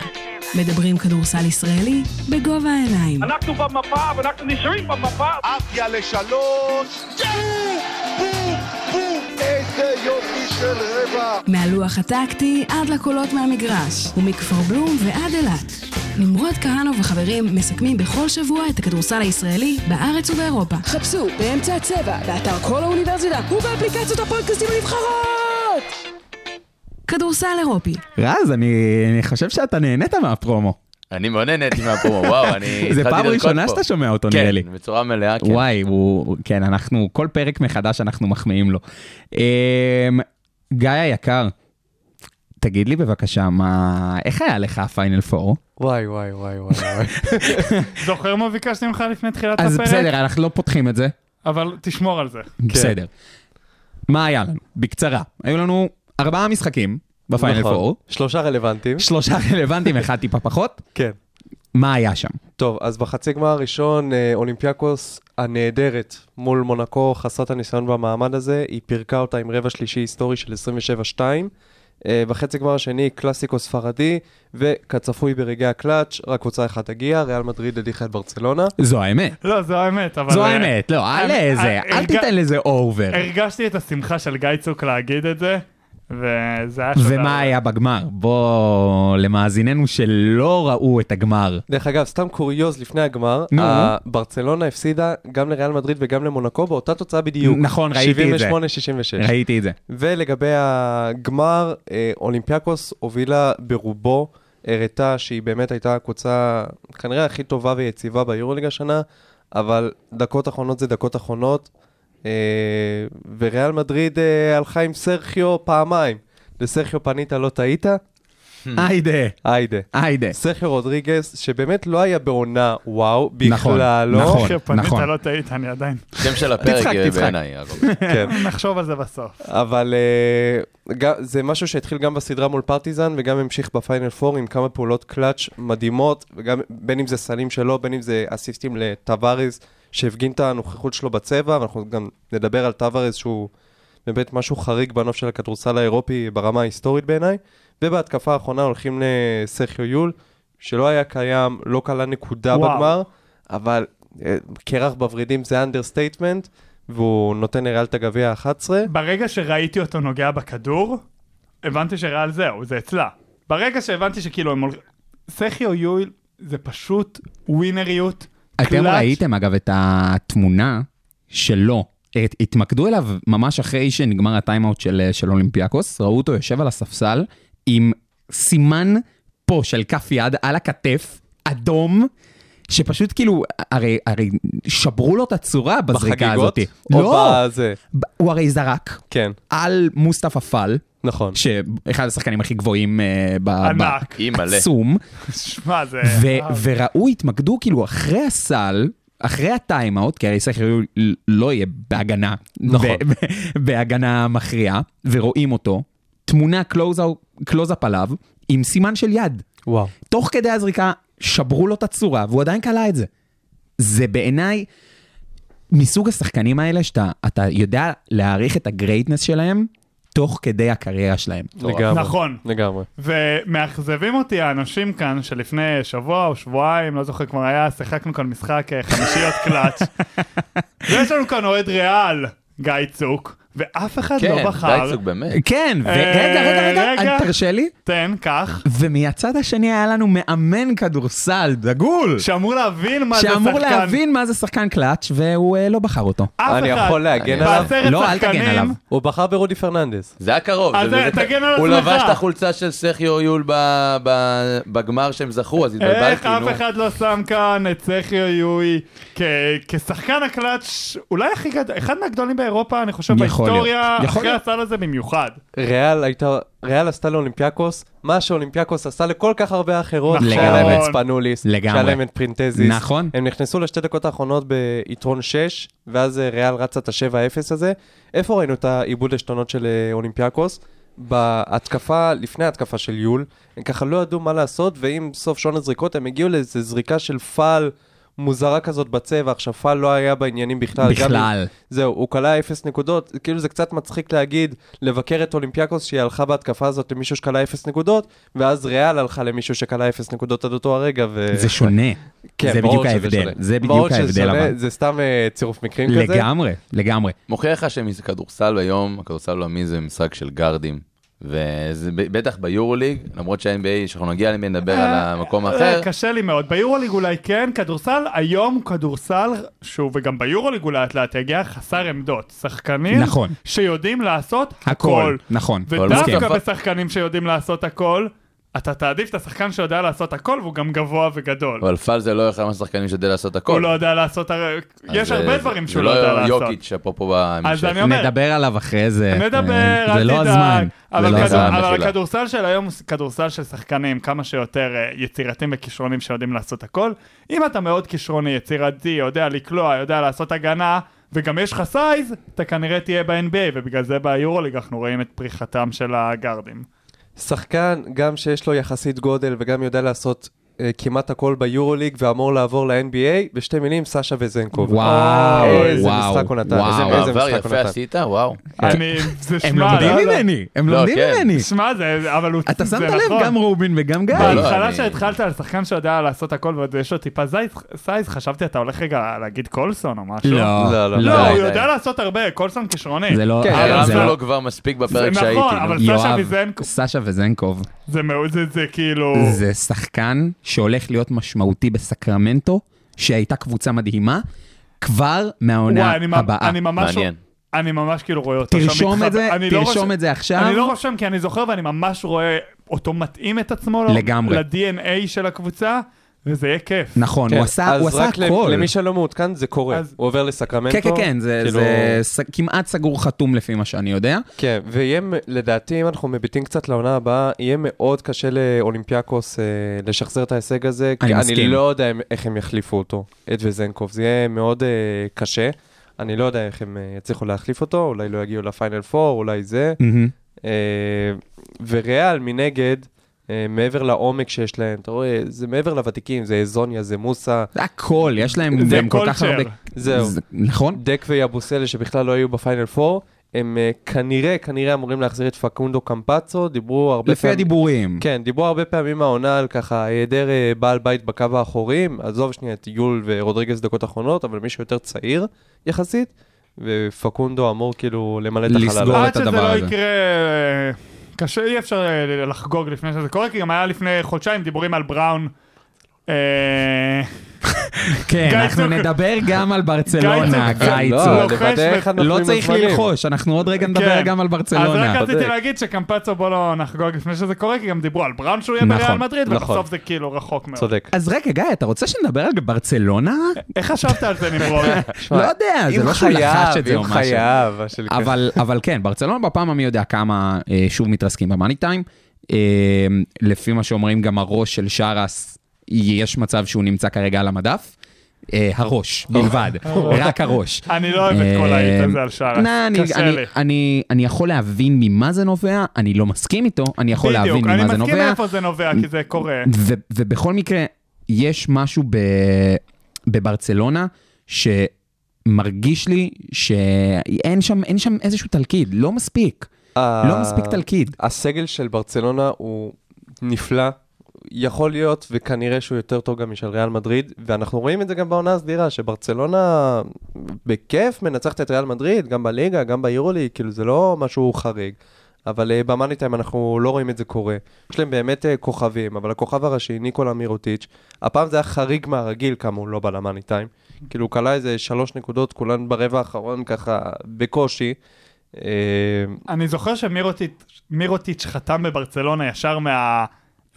[SPEAKER 3] מדברים כדורסל ישראלי בגובה העיניים.
[SPEAKER 8] אנחנו במפה, ואנחנו נשארים במפה.
[SPEAKER 9] עפיה לשלוש, יאו! בום! בום! איזה יופי של רבע!
[SPEAKER 3] מהלוח הטקטי עד לקולות מהמגרש, ומכפר בלום ועד אילת. נמרוד כהנוב וחברים מסכמים בכל שבוע את הכדורסל הישראלי בארץ ובאירופה.
[SPEAKER 10] חפשו באמצע הצבע, באתר כל האוניברסיטה ובאפליקציות הפודקאסטים הנבחרות!
[SPEAKER 3] כדורסל אירופי,
[SPEAKER 4] רז, אני אני חושב שאתה נהנית מהפרומו.
[SPEAKER 5] אני מאוד נהניתי מהפרומו, וואו, אני התחלתי
[SPEAKER 4] [laughs] זה פעם
[SPEAKER 5] לרקוד
[SPEAKER 4] ראשונה
[SPEAKER 5] פה.
[SPEAKER 4] שאתה שומע אותו, נראה לי.
[SPEAKER 5] כן, בצורה מלאה, כן.
[SPEAKER 4] וואי, הוא... כן, אנחנו, כל פרק מחדש אנחנו מחמיאים לו. אמ, גיא היקר, תגיד לי בבקשה, מה... איך היה לך הפיינל פור?
[SPEAKER 7] וואי, וואי, וואי, וואי. וואי.
[SPEAKER 6] זוכר מה ביקשתי ממך לפני תחילת
[SPEAKER 4] אז
[SPEAKER 6] הפרק?
[SPEAKER 4] בסדר, אנחנו לא פותחים את זה.
[SPEAKER 6] אבל תשמור על זה.
[SPEAKER 4] בסדר. מה היה לנו? בקצרה, היו לנו ארבעה משחקים בפיינל
[SPEAKER 7] נכון.
[SPEAKER 4] פור,
[SPEAKER 7] שלושה רלוונטיים.
[SPEAKER 4] שלושה [laughs] רלוונטיים, אחד טיפה פחות.
[SPEAKER 7] כן.
[SPEAKER 4] מה היה שם?
[SPEAKER 7] טוב, אז בחצי גמר הראשון, אה, אולימפיאקוס הנהדרת מול מונקו, חסרת הניסיון במעמד הזה, היא פירקה אותה עם רבע שלישי היסטורי של 27-2. אה, בחצי גמר השני, קלאסיקו ספרדי, וכצפוי ברגעי הקלאץ', רק קבוצה אחת הגיעה, ריאל מדריד הדיחה את ברצלונה.
[SPEAKER 4] זו האמת.
[SPEAKER 6] לא, זו האמת, אבל...
[SPEAKER 4] זו
[SPEAKER 6] אה,
[SPEAKER 4] האמת, לא, אל
[SPEAKER 6] אני-
[SPEAKER 4] זה,
[SPEAKER 6] אה,
[SPEAKER 4] אל תיתן לזה אובר.
[SPEAKER 6] הרגשתי את השמחה של גיא צוק להגיד את זה, וזה היה שווה.
[SPEAKER 4] ומה היה בגמר? בוא, למאזיננו שלא ראו את הגמר.
[SPEAKER 7] דרך אגב, סתם קוריוז לפני הגמר,
[SPEAKER 4] נו.
[SPEAKER 7] ה- ברצלונה הפסידה גם לריאל מדריד וגם למונקו באותה תוצאה בדיוק.
[SPEAKER 4] נכון, ראיתי את זה.
[SPEAKER 7] 78-66.
[SPEAKER 4] ראיתי את זה.
[SPEAKER 7] ולגבי הגמר, אה, אולימפיאקוס הובילה ברובו, הראתה שהיא באמת הייתה הקבוצה כנראה הכי טובה ויציבה ביורוליג השנה, אבל דקות אחרונות זה דקות אחרונות, אה, וריאל מדריד אה, הלכה עם סרחיו פעמיים. לסרחיו פנית לא טעית?
[SPEAKER 4] היידה,
[SPEAKER 7] היידה.
[SPEAKER 4] היידה.
[SPEAKER 7] סרחיו רודריגז, שבאמת לא היה בעונה וואו, בכלל
[SPEAKER 4] נכון,
[SPEAKER 7] לא.
[SPEAKER 4] נכון.
[SPEAKER 6] שפנית
[SPEAKER 4] נכון.
[SPEAKER 6] לא טעית, אני עדיין.
[SPEAKER 5] שם של הפרק
[SPEAKER 4] תצחק,
[SPEAKER 5] אה,
[SPEAKER 4] תצחק.
[SPEAKER 5] בעיניי, אגב.
[SPEAKER 7] כן.
[SPEAKER 6] נחשוב על זה בסוף.
[SPEAKER 7] אבל uh, גם, זה משהו שהתחיל גם בסדרה מול פרטיזן וגם המשיך בפיינל פור עם כמה פעולות קלאץ' מדהימות, וגם בין אם זה סלים שלו, בין אם זה אסיסטים לטוואריז, שהפגין את הנוכחות שלו בצבע, ואנחנו גם נדבר על טוואריז שהוא באמת משהו חריג בנוף של הכדורסל האירופי ברמה ההיסטורית בעיניי, ובהתקפה האחרונה הולכים לסרחיו יול, שלא היה קיים, לא כלה נקודה
[SPEAKER 6] וואו.
[SPEAKER 7] בגמר, אבל אה, קרח בוורידים זה אנדרסטייטמנט. והוא נותן לריאל את הגביע ה-11.
[SPEAKER 6] ברגע שראיתי אותו נוגע בכדור, הבנתי שריאל זהו, זה אצלה. ברגע שהבנתי שכאילו הם הולכים... סכי או יואיל זה פשוט ווינריות.
[SPEAKER 4] אתם
[SPEAKER 6] קלאץ'.
[SPEAKER 4] ראיתם אגב את התמונה שלו. הת- התמקדו אליו ממש אחרי שנגמר הטיימאוט של, של אולימפיאקוס, ראו אותו יושב על הספסל עם סימן פה של כף יד על הכתף, אדום, שפשוט כאילו, הרי, הרי שברו לו את הצורה בזריקה הזאת.
[SPEAKER 7] או
[SPEAKER 4] לא,
[SPEAKER 7] בזה?
[SPEAKER 4] ב- הוא הרי זרק
[SPEAKER 7] כן,
[SPEAKER 4] על מוסטפא פאל,
[SPEAKER 7] נכון.
[SPEAKER 4] שאחד השחקנים הכי גבוהים אה, ב...
[SPEAKER 6] ענק.
[SPEAKER 5] אי מלא.
[SPEAKER 4] עצום,
[SPEAKER 6] שמע, זה...
[SPEAKER 4] ו- וראו, התמקדו כאילו אחרי הסל, אחרי הטיימאוט, כי הרי סכר לא יהיה בהגנה,
[SPEAKER 7] נכון.
[SPEAKER 4] ב- ב- בהגנה מכריעה, ורואים אותו, תמונה קלוז- קלוזאפ עליו, עם סימן של יד.
[SPEAKER 7] וואו.
[SPEAKER 4] תוך כדי הזריקה שברו לו את הצורה, והוא עדיין כלה את זה. זה בעיניי מסוג השחקנים האלה שאתה אתה יודע להעריך את הגרייטנס שלהם תוך כדי הקריירה שלהם.
[SPEAKER 7] לגמרי.
[SPEAKER 6] נכון.
[SPEAKER 7] לגמרי.
[SPEAKER 6] ומאכזבים אותי האנשים כאן שלפני שבוע או שבועיים, לא זוכר כבר היה, שיחקנו כאן משחק אה, חמישיות
[SPEAKER 4] [laughs]
[SPEAKER 6] קלאץ'. ויש לנו כאן אוהד ריאל, גיא צוק, ואף אחד
[SPEAKER 5] כן,
[SPEAKER 6] לא בחר.
[SPEAKER 5] די צוק באמת.
[SPEAKER 4] כן,
[SPEAKER 6] אה,
[SPEAKER 4] ורגע, רגע, רגע,
[SPEAKER 6] רגע.
[SPEAKER 4] אל תרשה לי.
[SPEAKER 6] תן, קח.
[SPEAKER 4] ומהצד השני היה לנו מאמן כדורסל דגול,
[SPEAKER 6] שאמור להבין מה זה שחקן.
[SPEAKER 4] שאמור להבין מה זה שחקן קלאץ', והוא אה, לא בחר אותו.
[SPEAKER 6] אף אחד.
[SPEAKER 7] אני יכול להגן
[SPEAKER 5] אני-
[SPEAKER 7] עליו?
[SPEAKER 6] בעשרת
[SPEAKER 4] לא, אל תגן
[SPEAKER 6] שחקנים,
[SPEAKER 4] עליו.
[SPEAKER 7] הוא בחר ברודי פרננדס.
[SPEAKER 5] זה היה קרוב.
[SPEAKER 6] אז
[SPEAKER 5] זה-
[SPEAKER 6] אה,
[SPEAKER 5] זה-
[SPEAKER 6] תגן על
[SPEAKER 5] הוא
[SPEAKER 6] עצמך.
[SPEAKER 5] לבש את החולצה של סכיו יול ב- ב- בגמר שהם זכו, אז
[SPEAKER 6] איך
[SPEAKER 5] התבלבלתי, נו.
[SPEAKER 4] כאילו-
[SPEAKER 6] אף אחד לא שם כאן את סכי יואי כ- כשחקן הקלאץ' אולי הכי גדול, אחד מהגדולים באירופה, אני חושב,
[SPEAKER 4] יכול להיות.
[SPEAKER 6] בהיסטוריה,
[SPEAKER 4] יכול
[SPEAKER 6] אחרי
[SPEAKER 4] להיות.
[SPEAKER 6] הסל הזה במיוחד.
[SPEAKER 7] ריאל הייתה, ריאל עשתה לאולימפיאקוס, מה שאולימפיאקוס עשה לכל כך הרבה אחרות.
[SPEAKER 6] נכון.
[SPEAKER 7] שהיה להם את
[SPEAKER 6] לגמרי.
[SPEAKER 7] ספנוליס,
[SPEAKER 4] לגמרי.
[SPEAKER 7] שהיה להם את פרינטזיס.
[SPEAKER 4] נכון.
[SPEAKER 7] הם נכנסו לשתי דקות האחרונות ביתרון 6, ואז אה, ריאל רצה את ה-7-0 הזה. איפה ראינו את העיבוד עשתונות של אה, אולימפיאקוס? בהתקפה, לפני ההתקפה של יול, הם ככה לא ידעו מה לעשות, ועם סוף שעון הזריקות הם הגיעו לאיזו זריקה של פאל מוזרה כזאת בצבע, עכשיו פאל לא היה בעניינים בכלל. גם אם-
[SPEAKER 4] בכלל.
[SPEAKER 7] זהו, הוא כלה אפס נקודות, כאילו זה קצת מצחיק להגיד, לבקר את אולימפיאקוס שהיא הלכה בהתקפה הזאת למישהו שכלה אפס נקודות, ואז ריאל הלכה למישהו שכלה אפס נקודות עד אותו הרגע, ו...
[SPEAKER 4] זה שונה.
[SPEAKER 7] אה, כן,
[SPEAKER 4] זה
[SPEAKER 7] ברור
[SPEAKER 4] בדיוק
[SPEAKER 7] שזה
[SPEAKER 4] ההבדל.
[SPEAKER 7] שונה.
[SPEAKER 4] זה
[SPEAKER 7] ברור
[SPEAKER 4] בדיוק
[SPEAKER 7] שזה
[SPEAKER 4] ההבדל
[SPEAKER 7] שונה,
[SPEAKER 4] אבל.
[SPEAKER 7] זה סתם אה, צירוף מקרים כזה.
[SPEAKER 4] לגמרי, לגמרי.
[SPEAKER 5] מוכיח לך שהכדורסל היום, הכדורסל העולמי זה משחק של גארדים. וזה ב- בטח ביורוליג, למרות שה-NBA, שאנחנו נגיע אליהם נדבר על המקום האחר.
[SPEAKER 6] אה, קשה לי מאוד. ביורוליג אולי כן, כדורסל, היום כדורסל, שהוא וגם ביורוליג אולי לאט לאט יגיע, חסר עמדות. שחקנים
[SPEAKER 4] נכון.
[SPEAKER 6] שיודעים לעשות
[SPEAKER 4] הכל,
[SPEAKER 6] הכל.
[SPEAKER 4] נכון. מסכים.
[SPEAKER 6] ודווקא בשחקנים שיודעים לעשות הכל, אתה תעדיף את השחקן שיודע לעשות הכל והוא גם גבוה וגדול.
[SPEAKER 5] אבל פאל זה לא אחד מהשחקנים שיודע לעשות הכל.
[SPEAKER 6] הוא לא יודע לעשות, הר-
[SPEAKER 5] אז
[SPEAKER 6] יש
[SPEAKER 5] זה-
[SPEAKER 6] הרבה
[SPEAKER 5] זה-
[SPEAKER 6] דברים
[SPEAKER 5] זה
[SPEAKER 6] שהוא לא יודע לעשות.
[SPEAKER 5] יוקיץ', כן. אפרופו בהמשך.
[SPEAKER 6] אז אני אומר,
[SPEAKER 4] נדבר עליו אחרי זה.
[SPEAKER 6] נדבר,
[SPEAKER 4] זה
[SPEAKER 6] אל
[SPEAKER 4] לא הזמן.
[SPEAKER 6] תדאג.
[SPEAKER 4] זה לא
[SPEAKER 6] אבל כדור-
[SPEAKER 4] הזמן.
[SPEAKER 5] הזמן,
[SPEAKER 6] אבל
[SPEAKER 5] מחילה.
[SPEAKER 6] הכדורסל של היום הוא כדורסל של שחקנים כמה שיותר אה, יצירתיים וכישרונים שיודעים לעשות הכל. אם אתה מאוד כישרוני, יצירתי, יודע לקלוע, יודע לעשות הגנה, וגם יש לך סייז, אתה כנראה תהיה ב-NBA, ובגלל זה ביורוליג אנחנו רואים את פריחתם של הגארדים.
[SPEAKER 7] שחקן, גם שיש לו יחסית גודל וגם יודע לעשות אה, כמעט הכל ביורוליג ואמור לעבור ל-NBA, בשתי מילים, סאשה וזנקוב.
[SPEAKER 4] וואו,
[SPEAKER 7] אה, איזה
[SPEAKER 4] וואו,
[SPEAKER 7] משחק הוא נתן,
[SPEAKER 4] וואו.
[SPEAKER 5] איזה
[SPEAKER 4] וואו.
[SPEAKER 5] מעבר
[SPEAKER 7] משחק הוא
[SPEAKER 5] יפה
[SPEAKER 7] נתן.
[SPEAKER 5] עשית, וואו.
[SPEAKER 6] אני, זה
[SPEAKER 4] כן. הם
[SPEAKER 6] שמע,
[SPEAKER 4] לומדים
[SPEAKER 6] לא יודע.
[SPEAKER 4] ממני, הם
[SPEAKER 5] לא,
[SPEAKER 4] לומדים
[SPEAKER 5] כן.
[SPEAKER 4] ממני.
[SPEAKER 6] שמע, זה, אבל הוא,
[SPEAKER 4] אתה
[SPEAKER 6] זה
[SPEAKER 4] שמת לב,
[SPEAKER 6] נכון.
[SPEAKER 4] גם רובין וגם גיא.
[SPEAKER 5] לא,
[SPEAKER 6] בהתחלה
[SPEAKER 5] אני-
[SPEAKER 6] שהתחלת על שחקן שיודע לעשות הכל ועוד יש לו טיפה זייז- סייז, חשבתי אתה הולך רגע להגיד קולסון או משהו.
[SPEAKER 4] לא,
[SPEAKER 7] לא,
[SPEAKER 6] לא, הוא
[SPEAKER 5] די, די.
[SPEAKER 6] יודע לעשות הרבה, קולסון כישרוני.
[SPEAKER 4] זה לא,
[SPEAKER 7] כן,
[SPEAKER 4] אבל
[SPEAKER 7] אבל
[SPEAKER 4] זה
[SPEAKER 5] הרמנו
[SPEAKER 4] לא,
[SPEAKER 5] לו כבר מספיק בפרק
[SPEAKER 6] אה, זה
[SPEAKER 5] שהייתי.
[SPEAKER 6] נכון,
[SPEAKER 5] נו.
[SPEAKER 6] אבל- סשה
[SPEAKER 4] יואב,
[SPEAKER 6] וזנקוב.
[SPEAKER 4] סשה וזנקוב,
[SPEAKER 6] זה מאוד, זה- זה כאילו...
[SPEAKER 4] זה שחקן שהולך להיות משמעותי בסקרמנטו, שהייתה קבוצה מדהימה, כבר מהעונה
[SPEAKER 6] וואי, אני ממ-
[SPEAKER 4] הבאה.
[SPEAKER 6] אני ממש...
[SPEAKER 5] מעניין.
[SPEAKER 6] אני ממש כאילו רואה אותו שם
[SPEAKER 4] תרשום
[SPEAKER 6] מתחבא.
[SPEAKER 4] את זה,
[SPEAKER 6] אני לא
[SPEAKER 4] תרשום
[SPEAKER 6] רושם-
[SPEAKER 4] את זה עכשיו.
[SPEAKER 6] אני לא רושם כי אני זוכר ואני ממש רואה אותו מתאים את עצמו
[SPEAKER 4] לגמרי.
[SPEAKER 6] ל-DNA של הקבוצה, וזה יהיה כיף.
[SPEAKER 4] נכון,
[SPEAKER 7] כן,
[SPEAKER 4] הוא עשה הוא
[SPEAKER 7] אז
[SPEAKER 4] עשה
[SPEAKER 7] רק למ-
[SPEAKER 4] הכל.
[SPEAKER 7] למי שלא מעודכן, זה קורה.
[SPEAKER 6] אז-
[SPEAKER 7] הוא עובר
[SPEAKER 4] כן,
[SPEAKER 7] לסקרמנטו.
[SPEAKER 4] כן, כן, זה
[SPEAKER 7] כאילו-
[SPEAKER 4] זה ס- כמעט סגור חתום לפי מה שאני יודע.
[SPEAKER 7] כן, ויהיה, מ- לדעתי, אם אנחנו מביטים קצת לעונה הבאה, יהיה מאוד קשה לאולימפיאקוס אה, לשחזר את ההישג הזה. כי אני
[SPEAKER 4] מסכים.
[SPEAKER 7] לא יודע אם- איך הם יחליפו אותו, את וזנקוב. זה יהיה מאוד אה, קשה. אני לא יודע איך הם אה, יצליחו להחליף אותו, אולי לא יגיעו לפיינל 4, אולי זה. אה, וריאל מנגד, אה, מעבר לעומק שיש להם, אתה רואה, זה מעבר לוותיקים, זה זוניה, זה מוסה,
[SPEAKER 4] זה הכל, יש להם
[SPEAKER 6] זה
[SPEAKER 4] גם כל כך
[SPEAKER 6] קולצ'ר.
[SPEAKER 4] הרבה...
[SPEAKER 7] זהו.
[SPEAKER 4] זה- נכון?
[SPEAKER 7] דק ויבוסלה שבכלל לא היו בפיינל 4, הם אה, כנראה, כנראה אמורים להחזיר את פקונדו קמפצו, דיברו הרבה
[SPEAKER 4] לפי
[SPEAKER 7] פעמים-
[SPEAKER 4] הדיבורים.
[SPEAKER 7] כן, דיברו הרבה פעמים העונה על ככה היעדר אה, בעל בית בקו האחורי, עזוב שנייה את יול ורודריגז דקות אחרונות, אבל מישהו יותר צעיר יחסית, ופקונדו אמור כאילו למלא את החלל.
[SPEAKER 4] לסגור את
[SPEAKER 7] הזה.
[SPEAKER 6] עד שזה
[SPEAKER 4] הדבר
[SPEAKER 6] לא
[SPEAKER 4] הזה.
[SPEAKER 6] יקרה... אה, קשה, אי אפשר אה, לחגוג לפני שזה קורה, כי גם היה לפני חודשיים דיבורים על בראון. אה,
[SPEAKER 4] כן,
[SPEAKER 6] גיא
[SPEAKER 4] אנחנו
[SPEAKER 6] צוק-
[SPEAKER 4] נדבר גם על
[SPEAKER 6] גיא
[SPEAKER 4] ברצלונה,
[SPEAKER 6] צוק-
[SPEAKER 4] גיא
[SPEAKER 7] לא,
[SPEAKER 4] צוק.
[SPEAKER 6] לוחש
[SPEAKER 7] לוודא איך
[SPEAKER 6] ו-
[SPEAKER 7] אנחנו
[SPEAKER 4] לא
[SPEAKER 7] עם
[SPEAKER 4] צריך
[SPEAKER 7] הזמנים.
[SPEAKER 4] ללחוש, אנחנו עוד רגע נדבר
[SPEAKER 6] כן.
[SPEAKER 4] גם על
[SPEAKER 6] אז
[SPEAKER 4] ברצלונה.
[SPEAKER 6] רק רציתי
[SPEAKER 7] צודק.
[SPEAKER 6] להגיד שקמפצו בוא לא נחגוג לפני שזה קורה, כי גם דיברו על בראון שהוא יהיה
[SPEAKER 4] נכון,
[SPEAKER 6] בריאל מדריד,
[SPEAKER 7] נכון.
[SPEAKER 6] ובסוף זה כאילו רחוק מאוד.
[SPEAKER 7] צודק.
[SPEAKER 4] אז רגע, גיא, אתה רוצה שנדבר על ברצלונה?
[SPEAKER 6] איך חשבת על זה
[SPEAKER 4] [laughs]
[SPEAKER 6] נמרוד?
[SPEAKER 4] לא יודע, זה
[SPEAKER 7] אם
[SPEAKER 4] לא שהוא לחש
[SPEAKER 7] חייב,
[SPEAKER 4] את זה או
[SPEAKER 7] אם
[SPEAKER 4] משהו.
[SPEAKER 7] חייב, של-
[SPEAKER 4] אבל, אבל כן, ברצלונה בפעם המי יודע כמה אה, שוב מתרסקים במאני טיים. אה, לפי מה שאומרים, גם הראש של שרס, יש מצב שהוא נמצא כרגע על המדף. אה, הראש,
[SPEAKER 6] [laughs]
[SPEAKER 4] בלבד, רק הראש. אה,
[SPEAKER 6] אני לא אוהב את כל האיט הזה על שער.
[SPEAKER 4] נא, אני-
[SPEAKER 6] קשה
[SPEAKER 4] אני-
[SPEAKER 6] לי.
[SPEAKER 4] אני- אני יכול להבין ממה זה נובע, אני לא מסכים איתו, אני יכול להבין
[SPEAKER 6] בדיוק,
[SPEAKER 4] ממה זה
[SPEAKER 6] אני מסכים
[SPEAKER 4] נובע.
[SPEAKER 6] מאיפה זה נובע, כי זה קורה.
[SPEAKER 4] ו- ובכל מקרה, יש משהו ב- בברצלונה שמרגיש לי שאין שם, אין שם איזשהו תלכיד, לא מספיק.
[SPEAKER 7] אה,
[SPEAKER 4] לא מספיק תלכיד.
[SPEAKER 7] הסגל של ברצלונה הוא נפלא, יכול להיות, וכנראה שהוא יותר טוב גם משל ריאל מדריד, ואנחנו רואים את זה גם בעונה הסדירה, שברצלונה בכיף מנצחת את ריאל מדריד, גם בליגה, גם ביורוליג, כאילו זה לא משהו חריג. אבל uh, במאני טיים אנחנו לא רואים את זה קורה. יש להם באמת uh, כוכבים, אבל הכוכב הראשי, ניקולה מירוטיץ', הפעם זה היה חריג מהרגיל כמה הוא לא בא למאני טיים. כאילו הוא כלה איזה שלוש נקודות, כולן ברבע האחרון ככה בקושי. אה,
[SPEAKER 6] אני זוכר שמירוטיץ' חתם בברצלונה ישר מה...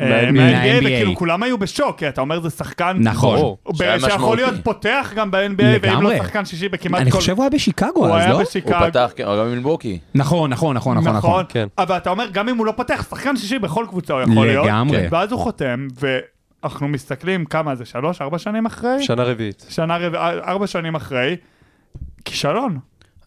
[SPEAKER 4] מה-
[SPEAKER 6] אה, מה-NBA,
[SPEAKER 4] מה-
[SPEAKER 6] וכאילו
[SPEAKER 4] NBA.
[SPEAKER 6] כולם היו בשוק, כי אתה אומר זה שחקן
[SPEAKER 4] נכון.
[SPEAKER 6] ברור,
[SPEAKER 5] שהיה
[SPEAKER 6] שיכול
[SPEAKER 5] משמעותי.
[SPEAKER 6] להיות פותח גם ב-NBA, ואם לא
[SPEAKER 4] לגמרי.
[SPEAKER 6] שחקן שישי בכמעט
[SPEAKER 4] אני
[SPEAKER 6] כל...
[SPEAKER 4] חושב הוא היה בשיקגו
[SPEAKER 6] הוא
[SPEAKER 4] אז,
[SPEAKER 6] היה
[SPEAKER 4] לא?
[SPEAKER 5] הוא
[SPEAKER 6] בשיקגו.
[SPEAKER 5] פתח, כן, אבל גם מילבוקי.
[SPEAKER 4] נכון, נכון, נכון, נכון, נכון.
[SPEAKER 6] נכון,
[SPEAKER 7] כן.
[SPEAKER 6] אבל אתה אומר, גם אם הוא לא פותח, שחקן שישי בכל קבוצה הוא יכול להיות. כן.
[SPEAKER 4] לגמרי.
[SPEAKER 6] ואז הוא חותם, ואנחנו מסתכלים, כמה זה, שלוש, ארבע שנים אחרי?
[SPEAKER 7] שנה רביעית.
[SPEAKER 6] שנה, רב- ארבע שנים אחרי. כישלון.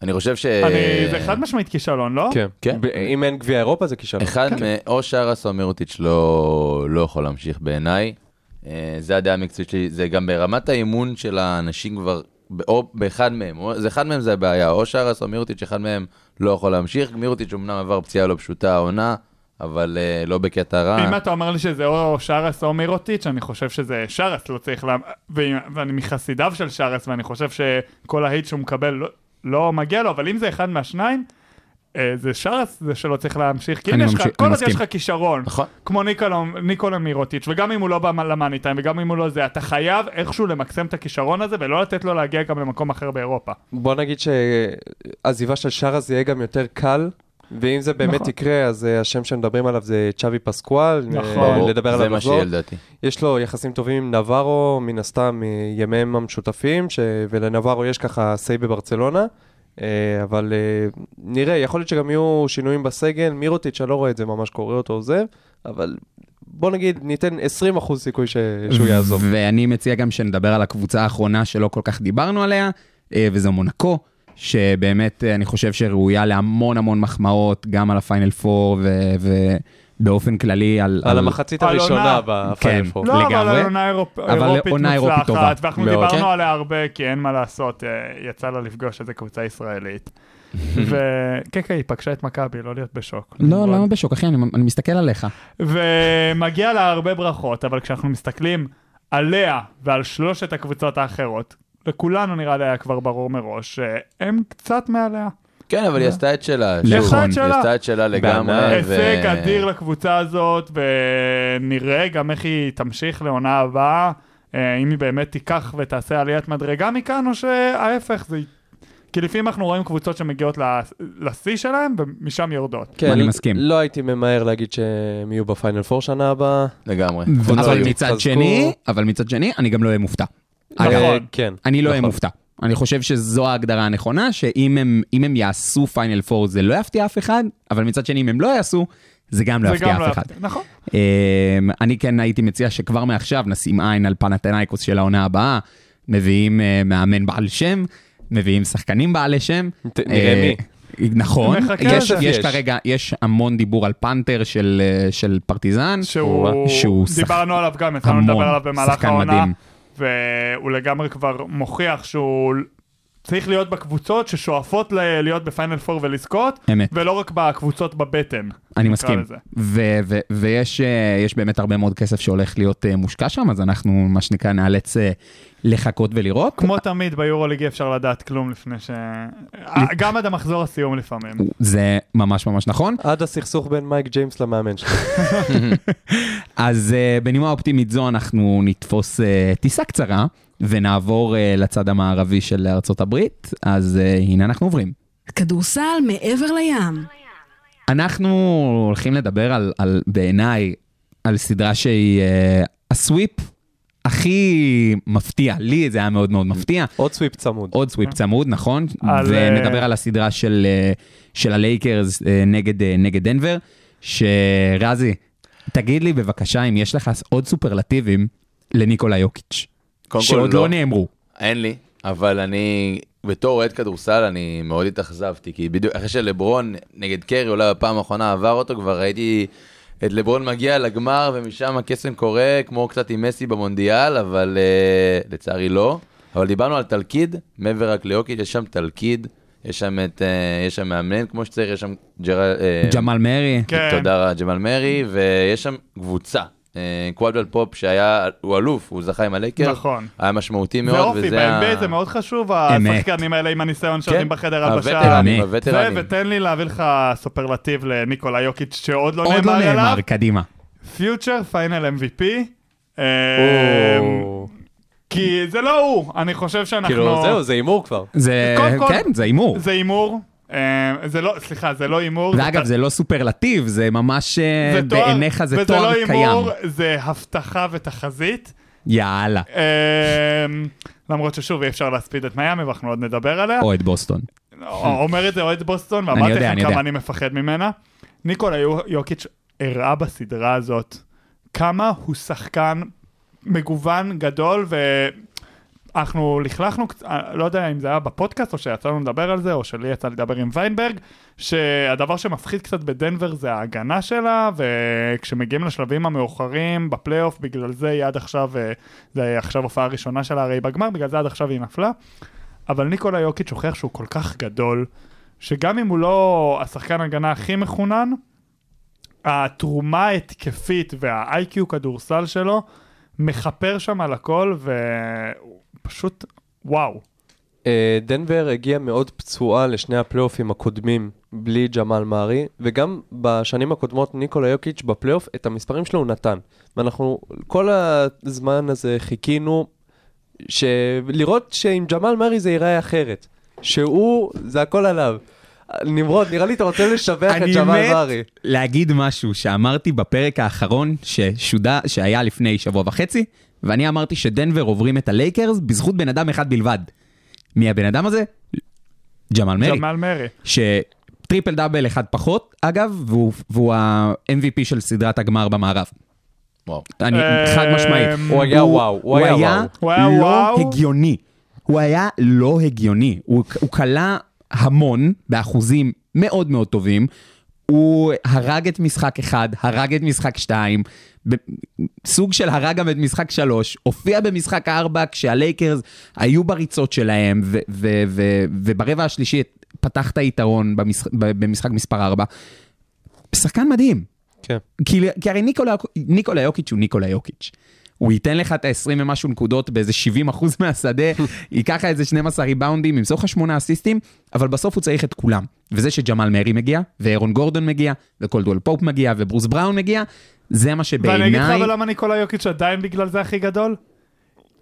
[SPEAKER 5] אני חושב ש...
[SPEAKER 6] אני- זה חד משמעית כישלון, לא?
[SPEAKER 7] כן.
[SPEAKER 5] כן.
[SPEAKER 7] ב- אם אין גביע אירופה זה כישלון.
[SPEAKER 5] אחד מ- או שרס או מירוטיץ' לא לא יכול להמשיך בעיניי. אה, זה הדעה המקצועית שלי, זה גם ברמת האימון של האנשים כבר, ב- או באחד מהם, או- זה אחד מהם זה הבעיה, או שרס או מירוטיץ', אחד מהם לא יכול להמשיך. מירוטיץ' אמנם עבר פציעה לא פשוטה העונה, אבל אה, לא בקטע רע.
[SPEAKER 6] אם אתה אומר לי שזה או שרס או מירוטיץ', אני חושב שזה שרס לא צריך לה... ו- ואני מחסידיו של שרס, ואני חושב שכל ההיט שהוא מקבל לא, לא מגיע לו, אבל אם זה אחד מהשניים, אה, זה שרס זה שלא צריך להמשיך, כי
[SPEAKER 4] אני
[SPEAKER 6] אם יש לך,
[SPEAKER 4] ממשיך-
[SPEAKER 6] כל
[SPEAKER 4] אני
[SPEAKER 6] עוד יש
[SPEAKER 4] מסכים.
[SPEAKER 6] לך כישרון,
[SPEAKER 5] נכון.
[SPEAKER 6] כמו ניקולו- ניקולה מירוטיץ', וגם אם הוא לא בא למאני טיים, וגם אם הוא לא זה, אתה חייב איכשהו למקסם את הכישרון הזה, ולא לתת לו להגיע גם למקום אחר באירופה.
[SPEAKER 7] בוא נגיד שעזיבה של שרס יהיה גם יותר קל, ואם זה באמת
[SPEAKER 6] נכון.
[SPEAKER 7] יקרה, אז אה, השם שמדברים עליו זה צ'אבי פסקואל, אה,
[SPEAKER 6] נכון. ברור,
[SPEAKER 7] לדבר
[SPEAKER 5] זה
[SPEAKER 7] עליו
[SPEAKER 5] מה
[SPEAKER 7] לחזור.
[SPEAKER 5] שיהיה לדעתי.
[SPEAKER 7] יש לו יחסים טובים עם נברו, מן הסתם, מימיהם המשותפים, ש... ולנברו יש ככה סיי בברצלונה, אה, אבל אה, נראה, יכול להיות שגם יהיו שינויים בסגל, מירוטיץ', אני לא רואה את זה ממש קורה אותו עוזב, אבל בוא נגיד, ניתן 20% סיכוי ש...
[SPEAKER 4] [laughs]
[SPEAKER 7] שהוא יעזוב.
[SPEAKER 4] ואני מציע גם שנדבר על הקבוצה האחרונה שלא כל כך דיברנו עליה, אה, וזו מונקו, שבאמת אה, אני חושב שראויה להמון המון מחמאות, גם על הפיינל 4 ובאופן כללי על...
[SPEAKER 7] על המחצית
[SPEAKER 6] על
[SPEAKER 7] הראשונה
[SPEAKER 6] עונה.
[SPEAKER 7] בפיינל
[SPEAKER 4] כן.
[SPEAKER 7] פור.
[SPEAKER 6] לא, אבל
[SPEAKER 4] לגמרי.
[SPEAKER 6] על עונה אירופ...
[SPEAKER 4] אבל
[SPEAKER 6] אירופית
[SPEAKER 4] עונה אירופית
[SPEAKER 6] מוצלחת,
[SPEAKER 4] טובה.
[SPEAKER 6] ואנחנו
[SPEAKER 7] מאוד.
[SPEAKER 6] דיברנו
[SPEAKER 7] כן.
[SPEAKER 6] עליה הרבה, כי אין מה לעשות, אה, יצא לה לפגוש איזה
[SPEAKER 4] [laughs]
[SPEAKER 6] קבוצה ישראלית. וכן, כן, היא פגשה את מכבי, לא להיות בשוק.
[SPEAKER 4] לא, למה בשוק, אחי? אני אני מסתכל עליך.
[SPEAKER 6] ומגיע לה הרבה ברכות, אבל כשאנחנו מסתכלים עליה ועל שלושת הקבוצות האחרות, לכולנו נראה לי היה כבר ברור מראש שהם קצת מעליה.
[SPEAKER 5] כן, אבל היא עשתה את שלה.
[SPEAKER 4] נכון.
[SPEAKER 5] שוב,
[SPEAKER 6] עשתה את
[SPEAKER 5] היא
[SPEAKER 6] שלה.
[SPEAKER 5] עשתה את שלה לגמרי.
[SPEAKER 7] בענק.
[SPEAKER 5] ו-
[SPEAKER 6] הישג
[SPEAKER 4] אה,
[SPEAKER 6] אדיר לקבוצה הזאת, ונראה גם איך היא תמשיך לעונה הבאה, אה, אם היא באמת תיקח ותעשה עליית מדרגה מכאן, או שההפך זה... כי לפעמים אנחנו רואים קבוצות שמגיעות ל- לשיא שלהן ומשם יורדות.
[SPEAKER 7] כן,
[SPEAKER 4] אני מסכים.
[SPEAKER 7] לא הייתי ממהר להגיד שהם יהיו בפיינל פור שנה הבאה.
[SPEAKER 5] לגמרי.
[SPEAKER 4] אבל
[SPEAKER 7] היו,
[SPEAKER 4] מצד
[SPEAKER 7] חזקו.
[SPEAKER 4] שני, אבל מצד שני, אני גם לא אהיה מופתע.
[SPEAKER 6] נכון.
[SPEAKER 7] אה, כן.
[SPEAKER 4] אני לא אהיה
[SPEAKER 7] נכון.
[SPEAKER 4] מופתע. אני חושב שזו ההגדרה הנכונה, שאם הם, אם הם יעשו פיינל 4 זה לא יפתיע אף אחד, אבל מצד שני אם הם לא יעשו, זה גם לא
[SPEAKER 6] זה גם
[SPEAKER 4] יפתיע
[SPEAKER 6] לא
[SPEAKER 4] אף אחד.
[SPEAKER 6] יפתיע. נכון.
[SPEAKER 4] אמ, אני כן הייתי מציע שכבר מעכשיו נשים עין על פנתנאיקוס של העונה הבאה, מביאים אה, מאמן בעל שם, מביאים שחקנים בעלי שם.
[SPEAKER 7] ת- נראה
[SPEAKER 4] אה, נכון,
[SPEAKER 6] נחכה
[SPEAKER 4] יש,
[SPEAKER 6] לזה.
[SPEAKER 4] יש
[SPEAKER 7] יש.
[SPEAKER 4] כרגע, יש המון דיבור על פנתר של, אה, של פרטיזן.
[SPEAKER 6] שהוא,
[SPEAKER 4] שהוא שח-
[SPEAKER 6] דיברנו עליו גם, התחלנו
[SPEAKER 4] המון,
[SPEAKER 6] לדבר עליו במהלך
[SPEAKER 4] שחקן
[SPEAKER 6] העונה,
[SPEAKER 4] מדהים.
[SPEAKER 6] והוא לגמרי כבר מוכיח שהוא צריך להיות בקבוצות ששואפות ל- להיות בפיינל פור ולזכות,
[SPEAKER 4] אמת.
[SPEAKER 6] ולא רק בקבוצות בבטן.
[SPEAKER 4] אני
[SPEAKER 6] נקרא
[SPEAKER 4] מסכים,
[SPEAKER 6] לזה.
[SPEAKER 4] ו- ו- ויש אה, יש באמת הרבה מאוד כסף שהולך להיות אה, מושקע שם, אז אנחנו מה שנקרא נאלץ אה, לחכות ולראות.
[SPEAKER 6] כמו תמיד ביורוליג אי אפשר לדעת כלום לפני ש... אה, גם עד המחזור הסיום לפעמים.
[SPEAKER 4] זה ממש ממש נכון.
[SPEAKER 7] עד הסכסוך בין מייק ג'יימס למאמן שלו.
[SPEAKER 4] אז uh, בנימה אופטימית זו אנחנו נתפוס uh, טיסה קצרה ונעבור uh, לצד המערבי של ארצות הברית, אז uh, הנה אנחנו עוברים.
[SPEAKER 3] כדורסל מעבר לים.
[SPEAKER 4] אנחנו הולכים לדבר על, על בעיניי, על סדרה שהיא uh, הסוויפ הכי מפתיע, לי זה היה מאוד מאוד מפתיע.
[SPEAKER 7] עוד סוויפ צמוד.
[SPEAKER 4] עוד סוויפ צמוד, נכון?
[SPEAKER 6] אה. על,
[SPEAKER 4] ונדבר
[SPEAKER 6] אה,
[SPEAKER 4] על הסדרה של, אה, של הלייקרס אה, נגד, אה, נגד דנבר, שרזי, תגיד לי בבקשה אם יש לך עוד סופרלטיבים לניקולה יוקיץ',
[SPEAKER 5] קודם כל,
[SPEAKER 4] שעוד
[SPEAKER 5] לא.
[SPEAKER 4] לא נאמרו.
[SPEAKER 5] אין לי, אבל אני, בתור אוהד כדורסל, אני מאוד התאכזבתי, כי בדיוק אחרי שלברון נגד קרי, אולי בפעם האחרונה עבר אותו, כבר ראיתי את לברון מגיע לגמר, ומשם הקסם קורה, כמו קצת עם מסי במונדיאל, אבל אה, לצערי לא. אבל דיברנו על תלכיד, מעבר רק ליוקיץ', יש שם תלכיד, יש שם את, אה, יש שם מאמן כמו שצריך, יש שם ג'ר... אה,
[SPEAKER 4] ג'מאל מרי,
[SPEAKER 6] כן.
[SPEAKER 5] תודה רבה, ג'מאל מרי, ויש שם קבוצה. אה, קוואדל פופ שהיה, הוא אלוף, הוא זכה עם הלייקר,
[SPEAKER 6] נכון.
[SPEAKER 5] היה משמעותי
[SPEAKER 6] זה
[SPEAKER 5] מאוד,
[SPEAKER 6] אופי, ב-NBA זה מאוד חשוב,
[SPEAKER 4] אמת.
[SPEAKER 6] השחקנים האלה עם הניסיון
[SPEAKER 5] כן.
[SPEAKER 7] כן,
[SPEAKER 6] שלהם בחדר הלבשה.
[SPEAKER 5] הווטרנים,
[SPEAKER 4] אמת.
[SPEAKER 6] זה,
[SPEAKER 5] הווטרנים.
[SPEAKER 6] ותן לי להביא לך סופרלטיב לניקולה יוקיץ' שעוד לא
[SPEAKER 4] עוד
[SPEAKER 6] נאמר
[SPEAKER 4] לא
[SPEAKER 6] עליו.
[SPEAKER 4] נאמר, קדימה.
[SPEAKER 6] פיוטר פיינל MVP. אמ,
[SPEAKER 7] או.
[SPEAKER 6] כי זה לא הוא, אני חושב שאנחנו...
[SPEAKER 7] כאילו, זהו, זה הימור כבר.
[SPEAKER 4] זה,
[SPEAKER 6] קודם כל-
[SPEAKER 4] כן, זה הימור.
[SPEAKER 6] זה הימור. אמ, זה לא, סליחה, זה לא הימור.
[SPEAKER 4] ואגב, זה לא סופרלטיב, זה ממש אה,
[SPEAKER 6] תואר-
[SPEAKER 4] בעיניך זה
[SPEAKER 6] וזה
[SPEAKER 4] תואר
[SPEAKER 6] לא
[SPEAKER 4] קיים.
[SPEAKER 6] הימור, זה הבטחה ותחזית.
[SPEAKER 4] יאללה,
[SPEAKER 6] אמ, למרות ששוב אי אפשר להספיד את מיאמי ואנחנו עוד נדבר עליה.
[SPEAKER 4] או את בוסטון.
[SPEAKER 6] אומר את זה אוהד בוסטון,
[SPEAKER 4] נכון. אני
[SPEAKER 6] ואמרתי
[SPEAKER 4] יודע, אני
[SPEAKER 6] לכם
[SPEAKER 4] יודע.
[SPEAKER 6] כמה אני מפחד ממנה. ניקולה יו- יוקיץ' הראה בסדרה הזאת כמה הוא שחקן מגוון גדול, ואנחנו לכלכנו, קצ- אה, לא יודע אם זה היה בפודקאסט או שיצאנו לדבר על זה, או שלי יצא לדבר עם ויינברג, שהדבר שמפחיד קצת בדנבר זה ההגנה שלה, וכשמגיעים לשלבים המאוחרים בפלייאוף, בגלל זה היא עד עכשיו, אה, זה עכשיו הופעה ראשונה שלה הרי בגמר, בגלל זה עד עכשיו היא נפלה. אבל ניקולה יוקיץ' הוכיח שהוא כל כך גדול, שגם אם הוא לא השחקן הגנה הכי מחונן, התרומה ההתקפית וה-IQ כדורסל שלו מכפר שם על הכל, והוא פשוט וואו.
[SPEAKER 7] אה, דנבר הגיעה מאוד פצועה לשני הפלייאופים הקודמים בלי ג'מאל מארי, וגם בשנים הקודמות ניקולה יוקיץ' בפלייאוף, את המספרים שלו הוא נתן. ואנחנו כל הזמן הזה חיכינו ש... לראות שעם ג'מאל מארי זה ייראה אחרת. שהוא, זה הכל עליו. נמרוד, נראה לי אתה רוצה לשבח
[SPEAKER 4] [laughs]
[SPEAKER 7] את
[SPEAKER 4] אני
[SPEAKER 7] ג'מאל
[SPEAKER 4] מת
[SPEAKER 7] מארי.
[SPEAKER 4] להגיד משהו שאמרתי בפרק האחרון ששודה, שהיה לפני שבוע וחצי, ואני אמרתי שדנבר עוברים את הלייקרס בזכות בן אדם אחד בלבד. מי הבן אדם הזה? ג'מאל מרי.
[SPEAKER 6] ג'מאל מרי.
[SPEAKER 4] שטריפל דאבל אחד פחות, אגב, והוא, והוא ה-MVP של סדרת הגמר במערב.
[SPEAKER 5] וואו.
[SPEAKER 4] אני
[SPEAKER 6] אה,
[SPEAKER 4] חד משמעית.
[SPEAKER 7] הוא היה וואו, הוא היה וואו.
[SPEAKER 6] הוא היה
[SPEAKER 4] לא
[SPEAKER 6] וואו.
[SPEAKER 4] הגיוני. הוא היה לא הגיוני. הוא הוא כלה המון, באחוזים מאוד מאוד טובים. הוא הרג את משחק 1, הרג את משחק 2, ב- סוג של הרג גם את משחק 3, הופיע במשחק 4 כשהלייקרס היו בריצות שלהם, ו- ו- ו- וברבע השלישי פתח את היתרון במשחק, במשחק מספר 4. שחקן מדהים.
[SPEAKER 7] כן.
[SPEAKER 4] כי, כאילו, כי הרי ניקולה, ניקולה יוקיץ' הוא ניקולה יוקיץ'. הוא ייתן לך את ה-20 ומשהו נקודות באיזה 70 אחוז [laughs] מהשדה, ייקח לך איזה 12 ריבאונדים, ימסור לך 8 אסיסטים, אבל בסוף הוא צריך את כולם. וזה שג'מאל מרי מגיע, ואירון גורדון מגיע, וקולדואל פופ מגיע, וברוס בראון מגיע, זה מה
[SPEAKER 6] ואני אגיד לך
[SPEAKER 4] שבעיניי...
[SPEAKER 6] אבל לא- למה ניקולה יוקיץ' עדיין בגלל זה הכי גדול?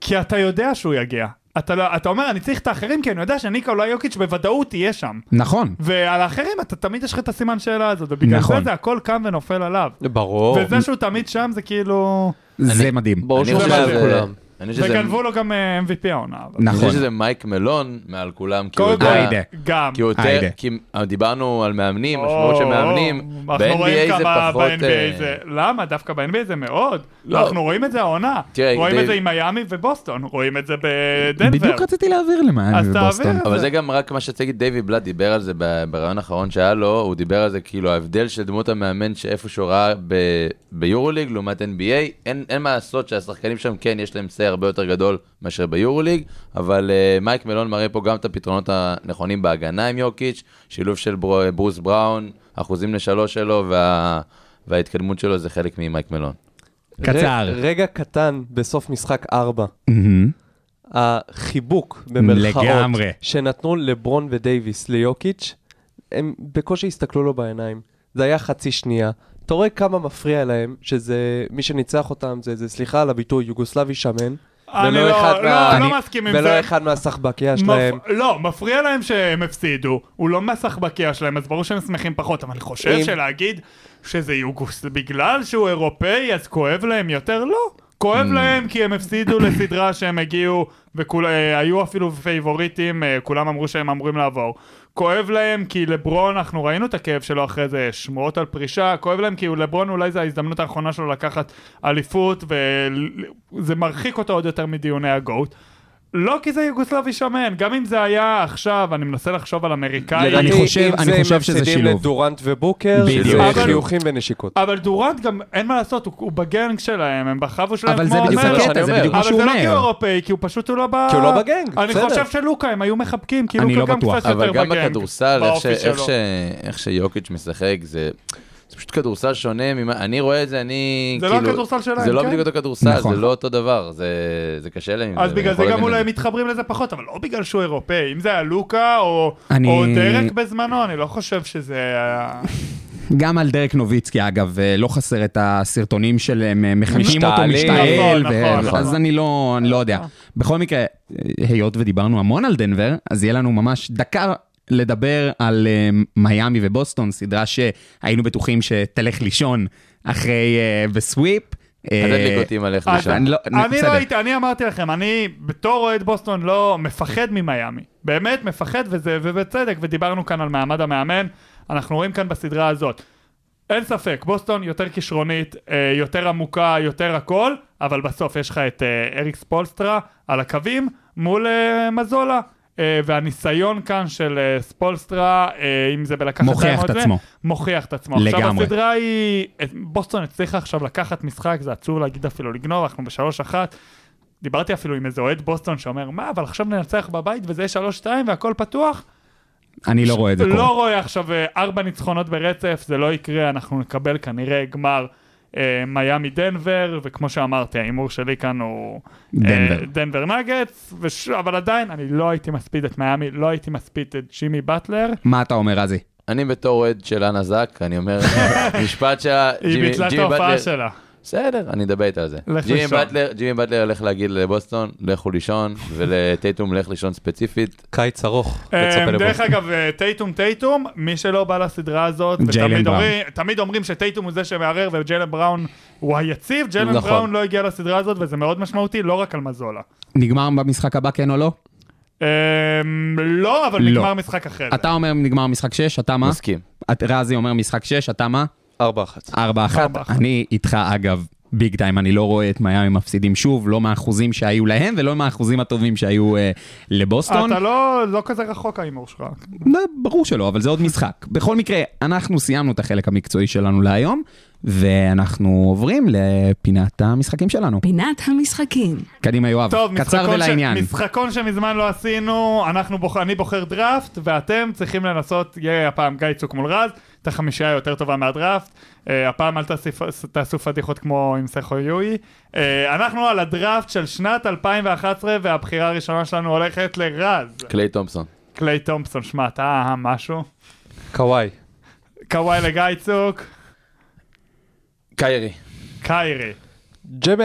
[SPEAKER 6] כי אתה יודע שהוא יגיע. אתה, לא, אתה אומר, אני צריך את האחרים, כי אני יודע שניקולה יוקיץ' בוודאות תהיה שם.
[SPEAKER 4] נכון.
[SPEAKER 6] ועל האחרים, אתה תמיד יש לך את הסימן שאלה הזאת, ובגלל
[SPEAKER 4] נכון.
[SPEAKER 6] זה זה הכל קם ונופל עליו.
[SPEAKER 7] ברור.
[SPEAKER 6] וזה שהוא תמיד שם זה כאילו...
[SPEAKER 4] זה מדהים.
[SPEAKER 7] ברור
[SPEAKER 5] אני
[SPEAKER 7] שהוא
[SPEAKER 5] חושב
[SPEAKER 7] מעל
[SPEAKER 5] שזה-
[SPEAKER 7] כולם.
[SPEAKER 5] אני חושב שזה-
[SPEAKER 6] וגנבו לו גם אה, MVP העונה. אבל-
[SPEAKER 5] אני
[SPEAKER 4] נכון.
[SPEAKER 5] חושב שזה מייק מלון מעל כולם, כי הוא
[SPEAKER 6] קודם
[SPEAKER 5] יודע-
[SPEAKER 6] כל,
[SPEAKER 4] היידה.
[SPEAKER 6] גם.
[SPEAKER 5] כי הוא יותר,
[SPEAKER 4] היידה.
[SPEAKER 5] כי אה, דיברנו על מאמנים,
[SPEAKER 6] או,
[SPEAKER 5] משמעות של מאמנים,
[SPEAKER 6] או, אנחנו רואים
[SPEAKER 5] ב-NBA זה
[SPEAKER 6] כמה
[SPEAKER 5] פחות...
[SPEAKER 6] ב-NBA
[SPEAKER 5] אה,
[SPEAKER 6] זה... למה? דווקא ב-NBA זה מאוד.
[SPEAKER 5] לא.
[SPEAKER 6] אנחנו רואים את זה העונה.
[SPEAKER 5] תראה,
[SPEAKER 6] רואים
[SPEAKER 5] דיו-
[SPEAKER 6] את זה עם מיאמי ובוסטון, רואים את זה בדנבר.
[SPEAKER 4] בדיוק רציתי להעביר למה
[SPEAKER 6] אז
[SPEAKER 4] בוסטון.
[SPEAKER 6] תעביר.
[SPEAKER 5] אבל זה גם רק מה שצגיד דיוויד בלאט דיבר על זה ב- ברעיון האחרון שהיה לו, הוא דיבר על זה כאילו ההבדל של דמות המאמן שאיפה שהוא ראה ב- ביורוליג לעומת NBA, אין, אין מה לעשות שהשחקנים שם כן יש להם say הרבה יותר גדול מאשר ביורוליג, אבל uh, מייק מלון מראה פה גם את הפתרונות הנכונים בהגנה עם יוקיץ', שילוב של בר, ברוס בראון, אחוזים לשלוש שלו וה, וההתקדמות שלו זה חלק ממייק מלון.
[SPEAKER 4] קצר.
[SPEAKER 7] אוקיי. ר- רגע קטן בסוף משחק 4.
[SPEAKER 4] מהמם.
[SPEAKER 7] החיבוק, במרכאות,
[SPEAKER 4] לגמרי.
[SPEAKER 7] שנתנו לברון ודייוויס, ליוקיץ', הם בקושי הסתכלו לו בעיניים. זה היה חצי שנייה. אתה רואה כמה מפריע להם, שזה, מי שניצח אותם זה, זה סליחה על הביטוי, יוגוסלבי שמן.
[SPEAKER 6] אני
[SPEAKER 7] ולא
[SPEAKER 6] לא-
[SPEAKER 7] אחד
[SPEAKER 6] לא,
[SPEAKER 7] מה-
[SPEAKER 6] לא
[SPEAKER 7] אני-
[SPEAKER 6] מסכים עם
[SPEAKER 7] ולא
[SPEAKER 6] זה.
[SPEAKER 7] אחד מהסחבקיה
[SPEAKER 6] מפ-
[SPEAKER 7] שלהם.
[SPEAKER 6] לא, מפריע להם שהם הפסידו, הוא לא מהסחבקיה שלהם, אז ברור שהם שמחים פחות, אבל אני חושב
[SPEAKER 7] אם-
[SPEAKER 6] שלהגיד שזה יוגוס בגלל שהוא אירופאי, אז כואב להם יותר? לא. כואב
[SPEAKER 7] Mm.
[SPEAKER 6] להם כי הם הפסידו
[SPEAKER 7] [coughs]
[SPEAKER 6] לסדרה שהם הגיעו, והיו אפילו פייבוריטים, אה, כולם אמרו שהם אמורים לעבור. כואב להם כי לברון, אנחנו ראינו את הכאב שלו אחרי זה, שמועות על פרישה, כואב להם כי לברון אולי זו ההזדמנות האחרונה שלו לקחת אליפות, וזה מרחיק אותו עוד יותר מדיוני הגוט. לא כי זה יוגוסלבי שמן, גם אם זה היה עכשיו, אני מנסה לחשוב על אמריקאי.
[SPEAKER 4] אני חושב-
[SPEAKER 7] אם
[SPEAKER 4] אני
[SPEAKER 7] זה הם
[SPEAKER 4] חושב שזה
[SPEAKER 7] מפסידים
[SPEAKER 4] שילוב.
[SPEAKER 7] לדורנט ובוקר,
[SPEAKER 4] בדיוק.
[SPEAKER 7] זה
[SPEAKER 6] אבל-
[SPEAKER 7] חיוכים ונשיקות.
[SPEAKER 6] אבל דורנט גם, אין מה לעשות, הוא, הוא בגנג שלהם, הם בחבו שלהם
[SPEAKER 4] אבל
[SPEAKER 6] כמו
[SPEAKER 4] זה בדיוק
[SPEAKER 6] אומר.
[SPEAKER 4] הקטע, זה בדיוק מה
[SPEAKER 6] אבל
[SPEAKER 4] שהוא
[SPEAKER 6] זה לא כי הוא
[SPEAKER 4] אומר.
[SPEAKER 6] אירופאי, כי הוא פשוט הוא לא ב...
[SPEAKER 7] כי הוא לא בגנג,
[SPEAKER 6] אני
[SPEAKER 7] בסדר.
[SPEAKER 6] חושב שלוקה, הם היו מחבקים, כי
[SPEAKER 4] אני
[SPEAKER 6] לוקה
[SPEAKER 4] לא
[SPEAKER 6] גם
[SPEAKER 4] בטוח.
[SPEAKER 6] קצת יותר
[SPEAKER 5] אבל
[SPEAKER 6] בגנג.
[SPEAKER 5] גם בכדורסל, איך ש-
[SPEAKER 6] באופי
[SPEAKER 5] איך
[SPEAKER 6] שלו.
[SPEAKER 5] ש- איך שיוקיץ' משחק, זה... זה פשוט כדורסל שונה, ממה, אני רואה את זה, אני
[SPEAKER 6] זה לא
[SPEAKER 5] כאילו...
[SPEAKER 6] הכדורסל שלהם,
[SPEAKER 5] זה לא
[SPEAKER 6] כן?
[SPEAKER 5] בדיוק אותו כדורסל,
[SPEAKER 4] נכון.
[SPEAKER 5] זה לא אותו דבר, זה, זה קשה להם. עם
[SPEAKER 6] אז
[SPEAKER 5] אני
[SPEAKER 6] בגלל
[SPEAKER 5] יכול
[SPEAKER 6] זה גם
[SPEAKER 5] להבין את
[SPEAKER 6] אולי מתחברים לזה פחות, אבל לא בגלל שהוא אירופאי. אם זה היה לוקה או,
[SPEAKER 4] אני-
[SPEAKER 6] או דרק בזמנו, אני לא חושב שזה היה...
[SPEAKER 4] גם על דרק נוביצקי, אגב, אה, לא חסר את הסרטונים של הם אה, מחקים אותו,
[SPEAKER 7] משתעלים.
[SPEAKER 4] משתעל,
[SPEAKER 6] נכון,
[SPEAKER 4] ו-
[SPEAKER 6] נכון,
[SPEAKER 4] אז
[SPEAKER 6] נכון.
[SPEAKER 4] אני לא אני לא יודע. בכל מקרה, אה, היות ודיברנו המון על דנבר, אז יהיה לנו ממש דקה לדבר על אה, מיאמי ובוסטון, סדרה שהיינו בטוחים שתלך לישון אחרי, אה, בסוויפ. אה,
[SPEAKER 5] זה. תדליק אותי אם עליך
[SPEAKER 6] אז-
[SPEAKER 5] לשם.
[SPEAKER 4] אני לא-
[SPEAKER 6] אני
[SPEAKER 4] בסדר.
[SPEAKER 6] לא הייתי, אני אמרתי לכם, אני בתור אוהד בוסטון לא מפחד ממיאמי. באמת מפחד, וזה, ובצדק, ודיברנו כאן על מעמד המאמן, אנחנו רואים כאן בסדרה הזאת. אין ספק, בוסטון יותר כישרונית, אה, יותר עמוקה, יותר הכל, אבל בסוף יש לך את אה, אריק ספולסטרה על הקווים מול אה, מזולה. אה, והניסיון כאן של אה, ספולסטרה, אה, אם זה בלקחת
[SPEAKER 4] מוכיח
[SPEAKER 6] להם עוד
[SPEAKER 4] את
[SPEAKER 6] זה,
[SPEAKER 4] עצמו.
[SPEAKER 6] מוכיח את עצמו.
[SPEAKER 4] לגמרי.
[SPEAKER 6] עכשיו הסדרה היא, את- בוסטון הצליחה עכשיו לקחת משחק, זה עצוב להגיד אפילו לגנוב, אנחנו בשלוש אחת. דיברתי אפילו עם איזה אוהד בוסטון שאומר, מה, אבל עכשיו ננצח בבית וזה יהיה שלוש שתיים והכל פתוח?
[SPEAKER 4] אני לא רואה את זה קורה.
[SPEAKER 6] לא רואה עכשיו אה, ארבע ניצחונות ברצף, זה לא יקרה, אנחנו נקבל כנראה גמר אה, מיאמי דנבר, וכמו שאמרתי, ההימור שלי כאן הוא
[SPEAKER 4] דנבר.
[SPEAKER 6] אה, דנבר נגטס, וש... אבל עדיין, אני לא הייתי מספיד את מיאמי, לא הייתי מספיד את ג'ימי באטלר.
[SPEAKER 4] מה אתה אומר, רזי?
[SPEAKER 5] אני בתור אוהד של אנה זק, אני אומר,
[SPEAKER 6] [laughs]
[SPEAKER 5] משפט שלה,
[SPEAKER 6] היא
[SPEAKER 5] ג'ימי-
[SPEAKER 6] ביטלה את
[SPEAKER 5] ג'ימי
[SPEAKER 6] ההופעה
[SPEAKER 5] באטלר-
[SPEAKER 6] שלה.
[SPEAKER 5] בסדר, אני אדבר איתה על זה.
[SPEAKER 6] לך
[SPEAKER 5] ג'ימי
[SPEAKER 6] לישון.
[SPEAKER 5] באטלר, ג'ימי באטלר הולך להגיד לבוסטון, לכו לישון, ולטייטום לך לישון ספציפית.
[SPEAKER 7] קיץ ארוך,
[SPEAKER 6] אה,
[SPEAKER 7] תצפה
[SPEAKER 6] דרך
[SPEAKER 7] לבוסטון.
[SPEAKER 6] אגב, אה, טייטום טייטום, מי שלא בא לסדרה הזאת, ותמיד
[SPEAKER 4] ג'יילן בראון.
[SPEAKER 6] אומרים- תמיד אומרים שטייטום הוא זה שמערער וג'יילן בראון הוא היציב, ג'יילן
[SPEAKER 5] נכון.
[SPEAKER 6] בראון לא הגיע לסדרה הזאת וזה מאוד משמעותי, לא רק על מזולה.
[SPEAKER 4] נגמר במשחק הבא, כן או לא?
[SPEAKER 6] אה, לא, אבל
[SPEAKER 4] לא.
[SPEAKER 6] נגמר משחק אחר.
[SPEAKER 4] אתה אומר נגמר משחק 6, אתה מה?
[SPEAKER 5] מסכים.
[SPEAKER 4] את- רזי אומר משחק 6, אתה מה?
[SPEAKER 7] ארבע אחת.
[SPEAKER 4] 4-1. אני איתך, אגב, ביג טיים, אני לא רואה את מיאמי מפסידים שוב, לא מהאחוזים שהיו להם ולא מהאחוזים הטובים שהיו אה, לבוסטון.
[SPEAKER 6] אתה לא לא כזה רחוק ההימור שלך.
[SPEAKER 4] לא, ברור שלא, אבל זה עוד משחק. בכל מקרה, אנחנו סיימנו את החלק המקצועי שלנו להיום, ואנחנו עוברים לפינת המשחקים שלנו.
[SPEAKER 3] פינת המשחקים.
[SPEAKER 4] קדימה, יואב,
[SPEAKER 6] טוב,
[SPEAKER 4] קצר
[SPEAKER 6] משחקון ש-
[SPEAKER 4] ולעניין.
[SPEAKER 6] משחקון שמזמן לא עשינו, אנחנו בוח... אני בוחר דראפט, ואתם צריכים לנסות, יהיה הפעם גיא צוק מול רז, את החמישייה היותר טובה מהדראפט. Uh, הפעם אל תאסיף- תעשו פדיחות כמו עם סכו יואי. Uh, אנחנו על הדראפט של שנת 2011, והבחירה הראשונה שלנו הולכת לרז.
[SPEAKER 5] קליי תומפסון.
[SPEAKER 6] קליי תומפסון, שמע, אתה משהו?
[SPEAKER 7] קוואי.
[SPEAKER 6] קוואי לגיא צוק,
[SPEAKER 5] קיירי.
[SPEAKER 6] קיירי.
[SPEAKER 7] ג'מה.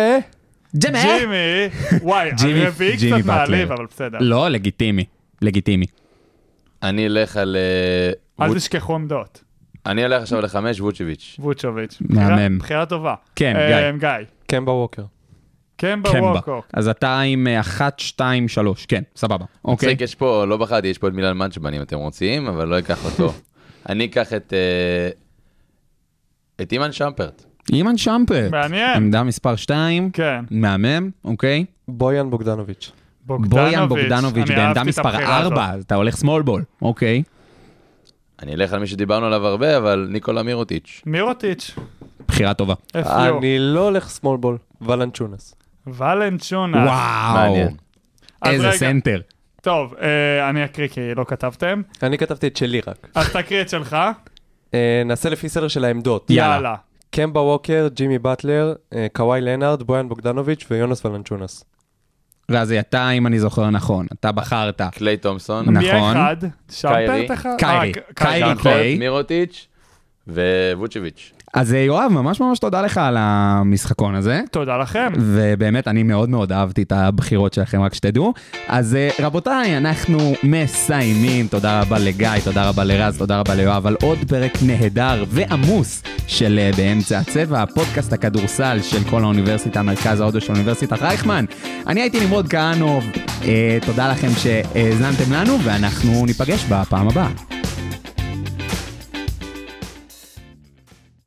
[SPEAKER 4] ג'מה!
[SPEAKER 6] ג'ימי, וואי,
[SPEAKER 4] ג'ימי-
[SPEAKER 6] הרביעי
[SPEAKER 4] ג'ימי
[SPEAKER 6] קצת
[SPEAKER 4] באטלר.
[SPEAKER 6] מעליב, אבל בסדר.
[SPEAKER 4] לא, לגיטימי. לגיטימי.
[SPEAKER 5] אני אלך על... אה,
[SPEAKER 6] אל
[SPEAKER 5] ווט-
[SPEAKER 6] תשכחו עמדות.
[SPEAKER 5] אני אלך עכשיו לחמש, ווצ'ביץ'.
[SPEAKER 6] ווצ'וביץ'.
[SPEAKER 4] מהמם.
[SPEAKER 6] בחירה- בחירה טובה.
[SPEAKER 4] כן,
[SPEAKER 6] אה, גיא. כן,
[SPEAKER 7] קמבה ווקר.
[SPEAKER 6] קמבה
[SPEAKER 4] קמבה.
[SPEAKER 6] ווקוק.
[SPEAKER 4] כן, אז אתה עם אה, 1, 2, 3, כן, סבבה. אוקיי.
[SPEAKER 5] מצחיק, יש פה, לא בחרתי, יש פה את מילן מנצ'בן אם אתם רוצים, אבל לא אקח
[SPEAKER 4] [laughs]
[SPEAKER 5] אותו. אני אקח את... אה, את אימן שמפרט.
[SPEAKER 4] אימן שמפרט.
[SPEAKER 6] מעניין.
[SPEAKER 4] עמדה מספר 2.
[SPEAKER 6] כן.
[SPEAKER 4] מהמם, אוקיי.
[SPEAKER 7] בויאן בוגדנוביץ'.
[SPEAKER 4] בויאן בוגדנוביץ'
[SPEAKER 6] אני
[SPEAKER 4] בעמדה
[SPEAKER 6] אהבתי את
[SPEAKER 4] מספר
[SPEAKER 6] הבחירה
[SPEAKER 4] 4,
[SPEAKER 6] הזאת.
[SPEAKER 4] אתה הולך שמאל בול. אוקיי.
[SPEAKER 5] אני אלך על מי שדיברנו עליו הרבה, אבל ניקולה מירוטיץ'.
[SPEAKER 6] מירוטיץ',
[SPEAKER 4] בחירה טובה.
[SPEAKER 6] אפיו,
[SPEAKER 7] אני לא הולך שמאל בול. ולנצ'ונס.
[SPEAKER 6] ולנצ'ונה.
[SPEAKER 4] וואו.
[SPEAKER 5] מעניין.
[SPEAKER 6] אז
[SPEAKER 4] איזה
[SPEAKER 6] רגע,
[SPEAKER 4] סנטר.
[SPEAKER 6] טוב, אה, אני אקריא כי לא כתבתם.
[SPEAKER 7] אני כתבתי את שלי רק.
[SPEAKER 6] אז תקריא את שלך.
[SPEAKER 7] אה, נעשה לפי סדר של העמדות.
[SPEAKER 4] יאללה.
[SPEAKER 6] יאללה.
[SPEAKER 7] קמבה ווקר, ג'ימי באטלר, אה, קוואי לנארד, בויאן בוגדנוביץ' ויונס ולנצ'ונס.
[SPEAKER 4] רזי, אתה, אם אני זוכר נכון, אתה בחרת.
[SPEAKER 5] קליי תומפסון.
[SPEAKER 4] נכון.
[SPEAKER 6] מי האחד?
[SPEAKER 5] קיירי.
[SPEAKER 6] שמפרט אחד?
[SPEAKER 4] קיירי.
[SPEAKER 6] אה, ק-
[SPEAKER 4] קיירי.
[SPEAKER 6] נכון.
[SPEAKER 5] שמפרט,
[SPEAKER 4] אוקיי.
[SPEAKER 5] מירוטיץ' וווצ'ביץ'.
[SPEAKER 4] אז אה, יואב, ממש ממש תודה לך על המשחקון הזה.
[SPEAKER 6] תודה לכם.
[SPEAKER 4] כן, ובאמת, אני מאוד מאוד אהבתי את הבחירות שלכם, רק שתדעו. אז אה, רבותיי, אנחנו מסיימים. תודה רבה לגיא, תודה רבה לרז, תודה רבה ליואב, על עוד פרק נהדר ועמוס של אה, באמצע הצבע, הפודקאסט הכדורסל של כל האוניברסיטה, מרכז ההודו של אוניברסיטת רייכמן. אני הייתי נמרוד כהנוב, אה, תודה לכם שהאזנתם לנו, ואנחנו ניפגש בפעם הבאה.